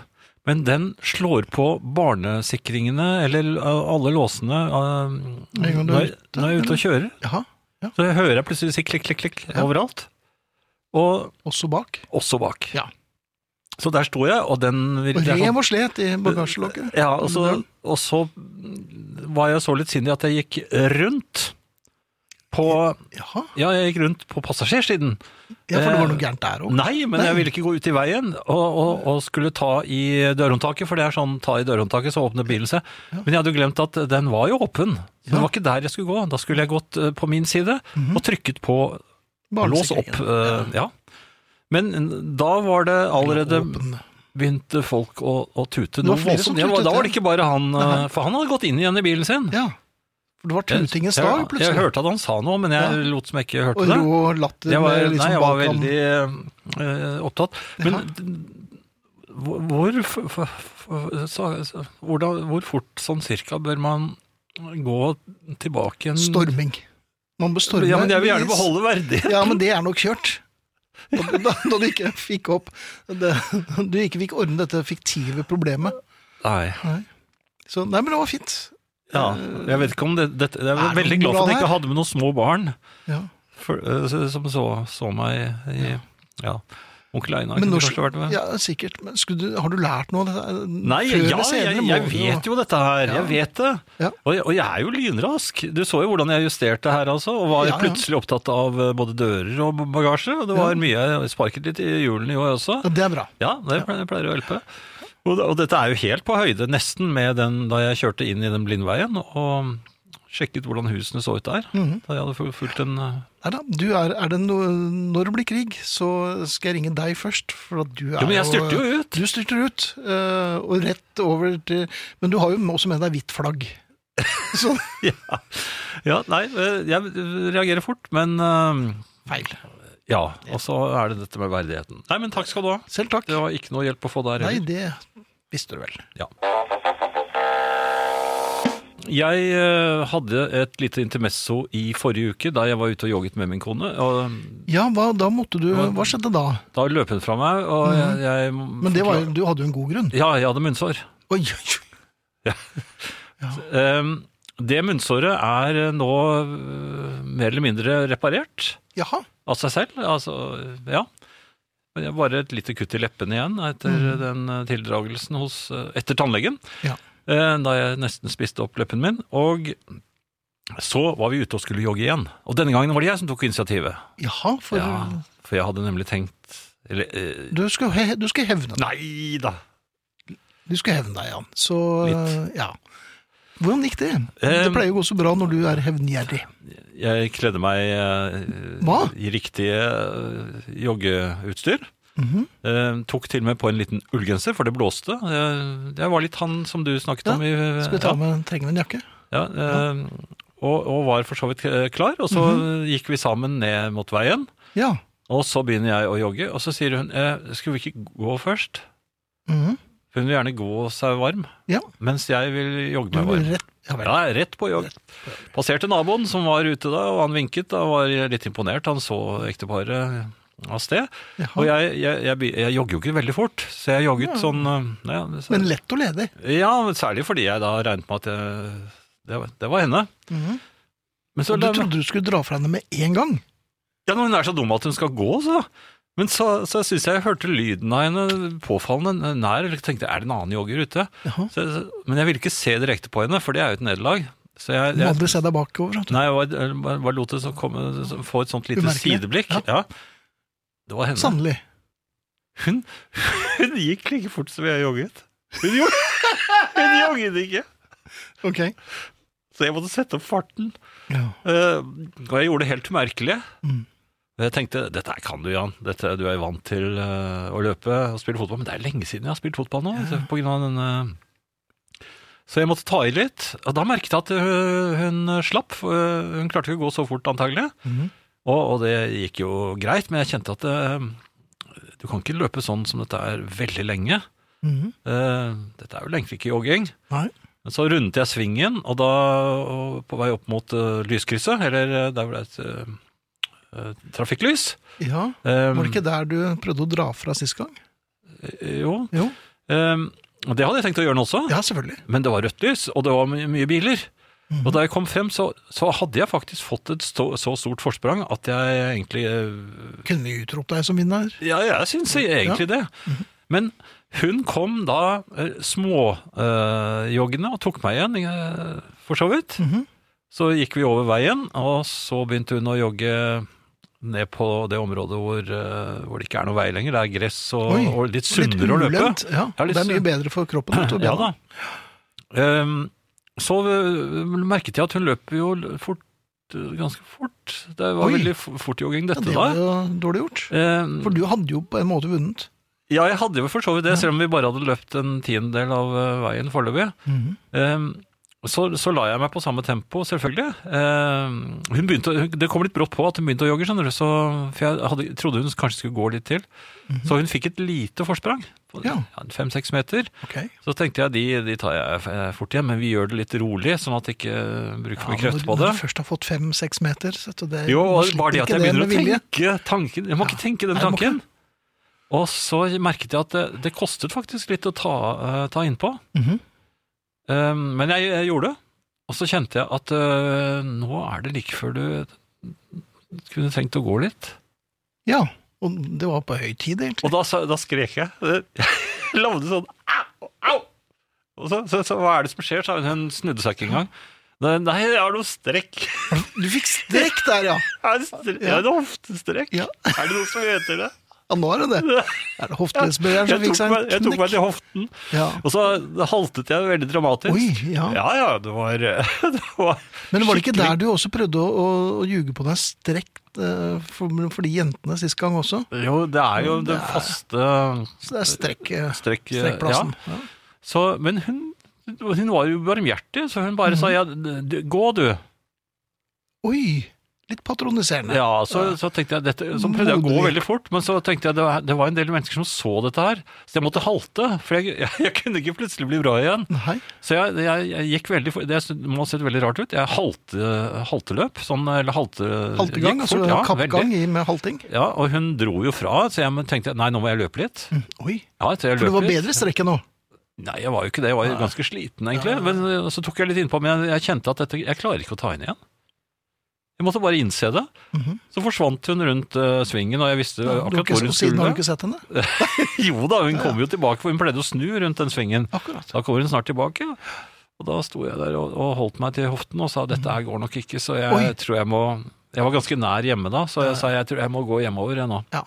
[SPEAKER 3] men den slår på barnesikringene eller eh, alle låsene eh,
[SPEAKER 2] En gang du er
[SPEAKER 3] når,
[SPEAKER 2] ute,
[SPEAKER 3] når jeg er ute og kjører.
[SPEAKER 2] Jaha,
[SPEAKER 3] Så jeg hører jeg plutselig si klikk, klikk, klikk
[SPEAKER 2] Ja.
[SPEAKER 3] overalt. Og
[SPEAKER 2] også bak.
[SPEAKER 3] også bak.
[SPEAKER 2] Ja.
[SPEAKER 3] Så der sto jeg, og den
[SPEAKER 2] Og
[SPEAKER 3] virkelig
[SPEAKER 2] rev og slet i bagasjelokket.
[SPEAKER 3] ja, og, så, og så var jeg så litt sindig at jeg gikk rundt på
[SPEAKER 2] Jaha,
[SPEAKER 3] Ja, jeg gikk rundt på passasjersiden.
[SPEAKER 2] ja, for det var
[SPEAKER 3] Eh,
[SPEAKER 2] noe gærent der òg.
[SPEAKER 3] Nei, men jeg ville ikke gå ut i veien og, og, og skulle ta i dørhåndtaket, for det er sånn ta i dørhåndtaket, så åpner bilen seg. Men jeg hadde jo glemt at den var jo åpen.
[SPEAKER 2] Ja.
[SPEAKER 3] Så det var ikke der jeg skulle gå. Da skulle jeg gått eh, på min side og trykket på lås opp. eh, ja. Men da var det allerede begynte folk å, å
[SPEAKER 2] Det
[SPEAKER 3] tute.
[SPEAKER 2] var
[SPEAKER 3] noe
[SPEAKER 2] flere
[SPEAKER 3] voldsomt.
[SPEAKER 2] som
[SPEAKER 3] Det var-
[SPEAKER 2] tutet,
[SPEAKER 3] Da var
[SPEAKER 2] ja.
[SPEAKER 3] det ikke bare han, eh, for han hadde gått inn igjen i bilen sin.
[SPEAKER 2] Ja, for det var tutingens dag
[SPEAKER 3] jeg, jeg
[SPEAKER 2] plutselig.
[SPEAKER 3] hørte at han sa noe, men jeg
[SPEAKER 2] Ja.
[SPEAKER 3] lot som jeg ikke hørte
[SPEAKER 2] Og
[SPEAKER 3] det.
[SPEAKER 2] ro og latter
[SPEAKER 3] Jeg var,
[SPEAKER 2] med litt
[SPEAKER 3] nei,
[SPEAKER 2] sånn
[SPEAKER 3] jeg var
[SPEAKER 2] bak ham.
[SPEAKER 3] veldig eh, opptatt. Men hvor, hvor, f- f- f- så, så, hvordan, hvor fort sånn cirka bør man gå tilbake en
[SPEAKER 2] Mm. Storming. Man bør storme.
[SPEAKER 3] Ja, men jeg vil gjerne
[SPEAKER 2] bevis.
[SPEAKER 3] beholde verdigheten.
[SPEAKER 2] Ja, men det er nok kjørt. Og Da, da du ikke fikk opp det, Du ikke fikk ordne dette fiktive problemet.
[SPEAKER 3] Nei.
[SPEAKER 2] Så, nei, men det var fint.
[SPEAKER 3] Ja, jeg vet ikke om det, dette- Jeg
[SPEAKER 2] Er
[SPEAKER 3] er
[SPEAKER 2] det
[SPEAKER 3] veldig
[SPEAKER 2] noe
[SPEAKER 3] glad for at
[SPEAKER 2] bra
[SPEAKER 3] jeg ikke hadde med noen små barn.
[SPEAKER 2] Ja.
[SPEAKER 3] for, eh, så- som så, så meg i Ja. Onkel Einar
[SPEAKER 2] Men
[SPEAKER 3] kunne
[SPEAKER 2] når,
[SPEAKER 3] kanskje vært med.
[SPEAKER 2] ja, sikkert. Men skulle du, har du lært noe av dette? eh,
[SPEAKER 3] Nei,
[SPEAKER 2] Før
[SPEAKER 3] ja,
[SPEAKER 2] eller senere
[SPEAKER 3] jeg,
[SPEAKER 2] må
[SPEAKER 3] jeg
[SPEAKER 2] du
[SPEAKER 3] vet jo dette her.
[SPEAKER 2] Ja.
[SPEAKER 3] Jeg vet det.
[SPEAKER 2] Ja.
[SPEAKER 3] Og, jeg, og jeg er jo lynrask. Du så jo hvordan jeg justerte her, altså. Og var
[SPEAKER 2] Ja, ja.
[SPEAKER 3] plutselig opptatt av eh, både dører og bagasje. Og det var mye Jeg sparket litt i hjulene, jo, jeg også.
[SPEAKER 2] Ja, det er bra.
[SPEAKER 3] Ja, det pleier, pleier å hjelpe. Og, og dette er jo helt på høyde, nesten, med den da jeg kjørte inn i den blindveien og sjekket hvordan husene så ut der. Da jeg hadde fu- fulgt en eh,
[SPEAKER 2] Neida, du er, er det no, når det blir krig, så skal jeg ringe deg først. For at du er
[SPEAKER 3] Jo, men jeg styrter jo ut.
[SPEAKER 2] Du styrter ut, eh, og rett over til Men du har jo også med deg hvitt flagg. Så
[SPEAKER 3] ja. ja, nei, eh, jeg reagerer fort, men eh,
[SPEAKER 2] feil.
[SPEAKER 3] ja. Og så er det dette med verdigheten. Nei, men takk skal du ha.
[SPEAKER 2] Selv takk.
[SPEAKER 3] Det var ikke noe hjelp å få der
[SPEAKER 2] Nei,
[SPEAKER 3] heller.
[SPEAKER 2] det visste du vel.
[SPEAKER 3] Ja. Jeg eh, hadde et lite intermesso i forrige uke da jeg var ute og jogget med min kone. Og
[SPEAKER 2] Ja, hva, da måtte du Hva skjedde da?
[SPEAKER 3] da løp hun fra meg, og jeg, jeg
[SPEAKER 2] Mhm. Men det var, jo- du hadde jo en god grunn.
[SPEAKER 3] Ja, jeg hadde munnsår.
[SPEAKER 2] Oi, oi, oi.
[SPEAKER 3] Ehm, det munnsåret er nå eh, mer eller mindre reparert.
[SPEAKER 2] Jaha.
[SPEAKER 3] av seg selv. Altså, ja. Men jeg har bare et lite kutt i leppene igjen etter den eh, tildragelsen hos, eh, etter tannlegen.
[SPEAKER 2] Mhm. Ja.
[SPEAKER 3] Eh, Da jeg nesten spiste opp leppen min. Og så var vi ute og skulle jogge igjen. Og denne gangen var det jeg som tok initiativet.
[SPEAKER 2] Jaha, for
[SPEAKER 3] Ja, for jeg hadde nemlig tenkt Eller eh,
[SPEAKER 2] du, skal he, du skal hevne deg.
[SPEAKER 3] Nei da!
[SPEAKER 2] Du skal hevne deg, Jan. Så
[SPEAKER 3] Litt.
[SPEAKER 2] ja. Hvordan gikk det? Det
[SPEAKER 3] Em,
[SPEAKER 2] pleier jo å gå så bra når du er hevngjerrig.
[SPEAKER 3] Jeg kledde meg eh,
[SPEAKER 2] Hva?
[SPEAKER 3] i riktig eh, joggeutstyr.
[SPEAKER 2] Mhm.
[SPEAKER 3] Eh, tok til og med på en liten ullgenser, for det blåste. Eh, jeg var litt han som du snakket
[SPEAKER 2] Ja,
[SPEAKER 3] om. I,
[SPEAKER 2] Skal vi ta med Trenger vi en jakke?
[SPEAKER 3] Ja, eh, og, og var for så vidt eh, klar, og så
[SPEAKER 2] Mhm.
[SPEAKER 3] eh, gikk vi sammen ned mot veien,
[SPEAKER 2] Ja.
[SPEAKER 3] og så begynner jeg å jogge, og så sier hun, eh, skulle vi ikke gå først?
[SPEAKER 2] Mhm.
[SPEAKER 3] Hun vil gjerne gå seg varm,
[SPEAKER 2] Ja.
[SPEAKER 3] mens jeg vil jogge
[SPEAKER 2] Du
[SPEAKER 3] meg varm.
[SPEAKER 2] vil rett Ja vel.
[SPEAKER 3] Ja, rett på jogg. Passerte naboen som var ute da, og han vinket, da var jeg litt imponert, han så ekteparet av sted. Og
[SPEAKER 2] Jaha.
[SPEAKER 3] jeg, jeg, jeg, be- jeg jogger jo ikke veldig fort, så jeg jogget sånn... eh, Ja, så-
[SPEAKER 2] Men lett og ledig.
[SPEAKER 3] ja, særlig fordi jeg da regnet med at jeg, det, var- det var henne.
[SPEAKER 2] Mhm.
[SPEAKER 3] Men så
[SPEAKER 2] Og du trodde du skulle dra fra henne med en gang?
[SPEAKER 3] Ja, når hun er så dum at hun skal gå, så. Men så, så syns jeg jeg hørte lyden av henne påfallende nær, eller tenkte er det en annen jogger ute?
[SPEAKER 2] Jaha.
[SPEAKER 3] Så, så, men jeg ville ikke se direkte på henne, for det er jo et nederlag. Så jeg,
[SPEAKER 2] Du må
[SPEAKER 3] jeg,
[SPEAKER 2] aldri se deg bakover. sånn. vet du.
[SPEAKER 3] nei, jeg var, jeg bare lot det så komme, så få et sånt lite
[SPEAKER 2] Umerkelig.
[SPEAKER 3] sideblikk.
[SPEAKER 2] Ja. Sånn.
[SPEAKER 3] Ja. Det var henne.
[SPEAKER 2] Sannelig.
[SPEAKER 3] Hun, hun gikk like fort som jeg jogget. Hun jogget, hun jogget ikke.
[SPEAKER 2] Ok.
[SPEAKER 3] Så jeg måtte sette opp farten.
[SPEAKER 2] Ja.
[SPEAKER 3] Eh, og jeg gjorde det helt umerkelig.
[SPEAKER 2] Mm.
[SPEAKER 3] Og Jeg tenkte dette her kan du, Jan. Dette, du er vant til eh, å løpe og spille fotball. Men det er lenge siden jeg har spilt fotball nå. Så, på grunn av denne... så jeg måtte ta i litt. Og da merket jeg at hun, hun slapp. for, eh, Hun klarte ikke å gå så fort, antagelig.
[SPEAKER 2] Mhm.
[SPEAKER 3] Og, og det gikk jo greit, men jeg kjente at eh, du kan ikke løpe sånn som dette er veldig lenge.
[SPEAKER 2] Mhm.
[SPEAKER 3] Eh, dette er vel egentlig ikke jogging.
[SPEAKER 2] Nei.
[SPEAKER 3] Men Så rundet jeg svingen, og da og på vei opp mot eh, lyskrysset, eller eh, der hvor det er et eh, eh, trafikklys
[SPEAKER 2] Ja. Var
[SPEAKER 3] um,
[SPEAKER 2] det ikke der du prøvde å dra fra sist gang?
[SPEAKER 3] Jo.
[SPEAKER 2] Jo.
[SPEAKER 3] Um, og det hadde jeg tenkt å gjøre nå også,
[SPEAKER 2] Ja, selvfølgelig.
[SPEAKER 3] men det var rødt lys, og det var my mye biler.
[SPEAKER 2] Mhm.
[SPEAKER 3] Og da jeg kom frem, så, så hadde jeg faktisk fått et stå, så stort forsprang at jeg egentlig eh,
[SPEAKER 2] Kunne vi utropt deg som vinner?
[SPEAKER 3] Ja, jeg syns egentlig det.
[SPEAKER 2] Mhm.
[SPEAKER 3] Men hun kom da eh, småjoggende og tok meg igjen, eh, for så vidt.
[SPEAKER 2] Mhm.
[SPEAKER 3] Så gikk vi over veien, og så begynte hun å jogge ned på det området hvor, eh, hvor det ikke er noe vei lenger. Det er gress og,
[SPEAKER 2] Oi,
[SPEAKER 3] og litt sunnere å løpe.
[SPEAKER 2] ulendt, Ja.
[SPEAKER 3] Ja, litt
[SPEAKER 2] det er mye
[SPEAKER 3] sunn-
[SPEAKER 2] bedre for kroppen. vet du, og
[SPEAKER 3] Ja
[SPEAKER 2] bena.
[SPEAKER 3] da. Ehm, så eh, merket jeg at hun løper jo fort, eh, ganske fort. Det var
[SPEAKER 2] Oi.
[SPEAKER 3] veldig f- fortjogging,
[SPEAKER 2] Ja,
[SPEAKER 3] dette
[SPEAKER 2] det var
[SPEAKER 3] da.
[SPEAKER 2] jo dårlig gjort.
[SPEAKER 3] Ehm,
[SPEAKER 2] For du hadde jo på en måte vunnet.
[SPEAKER 3] Ja, jeg hadde jo for så vidt det, selv om vi bare hadde løpt en tiendedel av eh, veien foreløpig. Ehm, så, så la jeg meg på samme tempo, selvfølgelig. Ehm, hun begynte, å- hun- det kom litt brått på at hun begynte å jogge, skjønner du, så, for jeg hadde, trodde hun kanskje skulle gå litt til. Så hun fikk et lite forsprang,
[SPEAKER 2] Mhm.
[SPEAKER 3] på
[SPEAKER 2] Ja.
[SPEAKER 3] fem-seks meter.
[SPEAKER 2] Ok.
[SPEAKER 3] Så tenkte jeg de, de tar jeg f- eh, fort igjen, men vi gjør det litt rolig, sånn at jeg ikke eh, bruker for mye
[SPEAKER 2] Ja,
[SPEAKER 3] krefter
[SPEAKER 2] når,
[SPEAKER 3] på
[SPEAKER 2] når du
[SPEAKER 3] det.
[SPEAKER 2] først har fått fem-seks meter så at det,
[SPEAKER 3] Jo,
[SPEAKER 2] man
[SPEAKER 3] og
[SPEAKER 2] slipper
[SPEAKER 3] bare det at
[SPEAKER 2] ikke
[SPEAKER 3] jeg begynner
[SPEAKER 2] med
[SPEAKER 3] å
[SPEAKER 2] vilje.
[SPEAKER 3] tenke tanken Jeg må ikke tenke den
[SPEAKER 2] Nei, du må ikke.
[SPEAKER 3] tanken. Og så merket jeg at det, det kostet faktisk litt å ta, eh, ta innpå.
[SPEAKER 2] Mhm.
[SPEAKER 3] Um, men jeg, jeg gjorde det. Og så kjente jeg at øh, nå er det like før du kunne tenkt å gå litt.
[SPEAKER 2] Ja, og det var på høy tid, egentlig.
[SPEAKER 3] Og da, sa- da skrek jeg. Jeg lagde sånn au, au! Og så, så, så hva er det som skjer? sa hun. Hun snudde seg ikke engang. Nei, nei, jeg har noe strekk.
[SPEAKER 2] Du fikk strekk der, ja!
[SPEAKER 3] Jeg har en stre- jeg har en hoftestrekk.
[SPEAKER 2] Ja.
[SPEAKER 3] Er det noe som heter det?
[SPEAKER 2] Ja, nå er det det. Er det hoftelesbøyeren som
[SPEAKER 3] Jeg
[SPEAKER 2] fikk
[SPEAKER 3] tok,
[SPEAKER 2] seg
[SPEAKER 3] meg, jeg
[SPEAKER 2] en
[SPEAKER 3] tok meg
[SPEAKER 2] knekk?
[SPEAKER 3] til hoften,
[SPEAKER 2] Ja.
[SPEAKER 3] og så haltet jeg veldig dramatisk.
[SPEAKER 2] Oi, ja.
[SPEAKER 3] ja, ja, det var, det var
[SPEAKER 2] Men var det ikke
[SPEAKER 3] skikkelig-
[SPEAKER 2] der du også prøvde å, å, å ljuge på deg strekt eh, for, for de jentene sist gang også?
[SPEAKER 3] Jo, det er jo den faste
[SPEAKER 2] Så det er strekk, eh,
[SPEAKER 3] Strekk-
[SPEAKER 2] strekkplassen. Ja.
[SPEAKER 3] Så, men hun, hun var jo barmhjertig, så hun bare sa
[SPEAKER 2] Mhm.
[SPEAKER 3] ja, du, gå du.
[SPEAKER 2] Oi! Litt patroniserende.
[SPEAKER 3] Ja, så, så tenkte jeg dette, så prøvde jeg å gå
[SPEAKER 2] Modig.
[SPEAKER 3] veldig fort, men så tenkte jeg det var, det var en del mennesker som så dette her, så jeg måtte halte, for jeg, jeg, kunne ikke plutselig bli bra igjen.
[SPEAKER 2] Nei.
[SPEAKER 3] Så jeg, jeg, jeg gikk veldig fort, det sy- må ha sett veldig rart ut, jeg halte, halteløp, sånn, eller halte,
[SPEAKER 2] Haltegang,
[SPEAKER 3] gikk
[SPEAKER 2] altså
[SPEAKER 3] fort, ja,
[SPEAKER 2] kappgang
[SPEAKER 3] veldig.
[SPEAKER 2] i- med halting.
[SPEAKER 3] Ja, og hun dro jo fra, så jeg tenkte nei, nå må jeg løpe litt.
[SPEAKER 2] Mm, Oi,
[SPEAKER 3] Ja, så jeg
[SPEAKER 2] for det
[SPEAKER 3] løp
[SPEAKER 2] var
[SPEAKER 3] litt.
[SPEAKER 2] bedre strekk enn nå.
[SPEAKER 3] Nei, jeg var jo ikke det. Jeg var jo ganske sliten, egentlig. Men eh, så tok jeg litt innpå, men jeg, jeg kjente at dette, jeg klarer ikke å ta henne igjen. Jeg måtte bare innse det.
[SPEAKER 2] Mhm.
[SPEAKER 3] Så forsvant hun rundt eh, svingen, og jeg visste
[SPEAKER 2] Ja, du har
[SPEAKER 3] akkurat
[SPEAKER 2] ikke-
[SPEAKER 3] hvor hun
[SPEAKER 2] og siden har du
[SPEAKER 3] skulle.
[SPEAKER 2] ikke sett henne?
[SPEAKER 3] jo da, hun kom jo tilbake, for hun pleide å snu rundt den svingen.
[SPEAKER 2] Akkurat.
[SPEAKER 3] Da kommer hun snart tilbake. Og da sto jeg der og, og holdt meg til hoften og sa dette her går nok ikke, så jeg
[SPEAKER 2] Oi.
[SPEAKER 3] tror jeg må Jeg var ganske nær hjemme da, så jeg sa jeg tror jeg må gå hjemover, jeg nå.
[SPEAKER 2] Ja.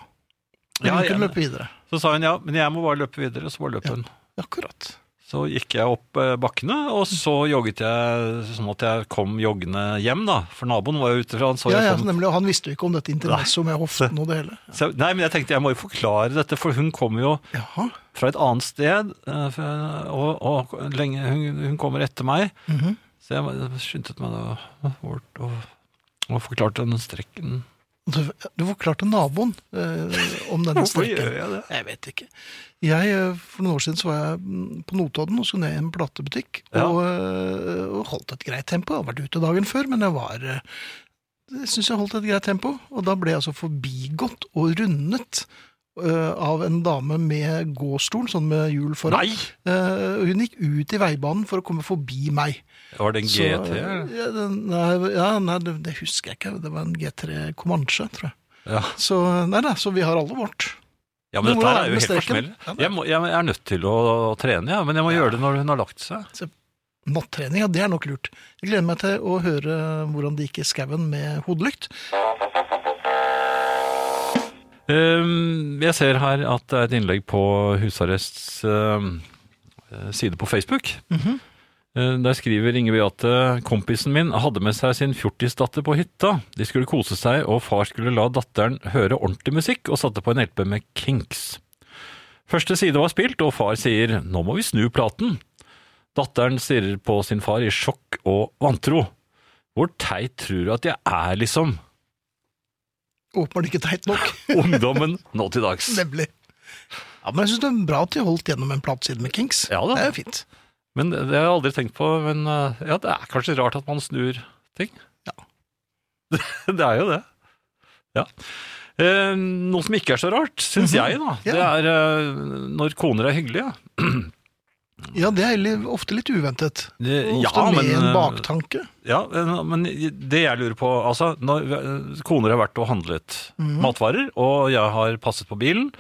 [SPEAKER 2] Men
[SPEAKER 3] Ja,
[SPEAKER 2] hun kunne
[SPEAKER 3] jeg-
[SPEAKER 2] løpe videre.
[SPEAKER 3] Så sa hun ja, men jeg må bare løpe videre, så bare løp
[SPEAKER 2] Ja.
[SPEAKER 3] hun.
[SPEAKER 2] Akkurat.
[SPEAKER 3] Så gikk jeg opp eh, bakkene, og så jogget jeg sånn at jeg kom joggende hjem, da. For naboen var jo ute fra han så
[SPEAKER 2] Ja, ja, sånn,
[SPEAKER 3] jeg kom.
[SPEAKER 2] nemlig, og han visste jo ikke om dette intermessoet med hoften og det hele.
[SPEAKER 3] Så, jeg- nei, men jeg tenkte jeg må jo forklare dette, for hun kommer jo
[SPEAKER 2] Jaha.
[SPEAKER 3] fra et annet sted, eh, fra- og, og lenge, hun, hun kommer etter meg.
[SPEAKER 2] Mhm.
[SPEAKER 3] Så jeg var- skyndte meg da bort og, og forklarte den strekken.
[SPEAKER 2] Du, du forklarte naboen eh, om denne
[SPEAKER 3] Hvorfor gjør
[SPEAKER 2] strekken.
[SPEAKER 3] jeg det?
[SPEAKER 2] Jeg vet ikke. Jeg, eh, for noen år siden så var jeg mm, på Notodden og skulle ned i en platebutikk.
[SPEAKER 3] Ja.
[SPEAKER 2] Og, eh, og holdt et greit tempo. Jeg hadde vært ute dagen før, men jeg var eh, Jeg syns jeg holdt et greit tempo. Og da ble jeg altså forbigått og rundet eh, av en dame med gåstol, sånn med hjul foran.
[SPEAKER 3] Nei!
[SPEAKER 2] Eh, hun gikk ut i veibanen for å komme forbi meg.
[SPEAKER 3] Var det en
[SPEAKER 2] Så,
[SPEAKER 3] GT? eller?
[SPEAKER 2] ja, den- nei, ja, nei det, det husker jeg ikke. Det var en G3 Comanche, tror jeg.
[SPEAKER 3] Ja.
[SPEAKER 2] Så, nei, da, så vi har alle vårt.
[SPEAKER 3] ja, men
[SPEAKER 2] Men
[SPEAKER 3] dette
[SPEAKER 2] hvordan
[SPEAKER 3] her
[SPEAKER 2] er
[SPEAKER 3] er
[SPEAKER 2] det
[SPEAKER 3] jo
[SPEAKER 2] med
[SPEAKER 3] helt
[SPEAKER 2] streken?
[SPEAKER 3] forsmell.
[SPEAKER 2] Ja, nei.
[SPEAKER 3] Jeg, må- jeg er nødt til å, trene, ja, men jeg må gjøre det når hun har lagt seg.
[SPEAKER 2] Nattrening, ja, det er nok lurt. Jeg gleder meg til å høre hvordan det gikk i skauen med hodelykt.
[SPEAKER 3] Ehm, Jeg ser her at det er et innlegg på husarrests ehm, side på Facebook. Eh, Der skriver Inge Beate kompisen min hadde med seg sin fjortisdatter på hytta. De skulle kose seg, og far skulle la datteren høre ordentlig musikk, og satte på en LP med Kinks. Første side var spilt, og far sier 'nå må vi snu platen'. Datteren stirrer på sin far i sjokk og vantro. Hvor teit tror du at jeg er, liksom?
[SPEAKER 2] Åpenbart ikke teit nok,
[SPEAKER 3] Ungdommen nå til dags.
[SPEAKER 2] nemlig. Ja, Men jeg syns det er bra at de holdt gjennom en plateside med Kings.
[SPEAKER 3] Ja da.
[SPEAKER 2] Det er jo fint.
[SPEAKER 3] Men det har jeg aldri tenkt på, men eh, ja, det er kanskje rart at man snur ting.
[SPEAKER 2] Ja.
[SPEAKER 3] det er jo det. Ja. Eh, noe som ikke er så rart, syns jeg, da, det
[SPEAKER 2] Ja.
[SPEAKER 3] er eh, når koner er hyggelige.
[SPEAKER 2] Ja, det er heller ofte litt uventet.
[SPEAKER 3] Det-
[SPEAKER 2] Og Ofte
[SPEAKER 3] ja,
[SPEAKER 2] med
[SPEAKER 3] men,
[SPEAKER 2] en
[SPEAKER 3] eh,
[SPEAKER 2] baktanke.
[SPEAKER 3] Ja, eh, men det jeg lurer på, altså, når eh, koner har vært og handlet
[SPEAKER 2] Mm,
[SPEAKER 3] matvarer, og jeg har passet på bilen,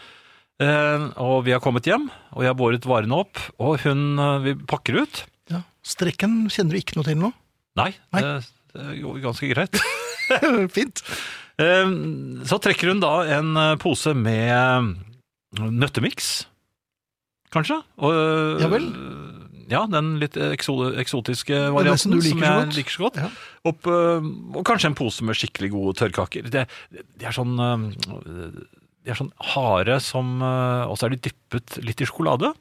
[SPEAKER 3] eh, og vi har kommet hjem, og jeg har båret varene opp, og hun, eh, vi pakker ut.
[SPEAKER 2] Ja. Strekken kjenner du ikke noe til nå?
[SPEAKER 3] Nei,
[SPEAKER 2] Nei.
[SPEAKER 3] Det, det går ganske greit.
[SPEAKER 2] fint.
[SPEAKER 3] Eh, Så trekker hun da en eh, pose med eh, nøttemiks, kanskje? Og, eh,
[SPEAKER 2] Ja vel.
[SPEAKER 3] Ja, den litt ekso eksotiske
[SPEAKER 2] nesten
[SPEAKER 3] varianten
[SPEAKER 2] du liker
[SPEAKER 3] som
[SPEAKER 2] så
[SPEAKER 3] jeg
[SPEAKER 2] godt.
[SPEAKER 3] liker så godt.
[SPEAKER 2] Ja.
[SPEAKER 3] Opp, eh, og kanskje en pose med skikkelig gode tørrkaker. Det, det er sånn eh, de er sånn harde som eh, Og så er de dyppet litt i sjokolade.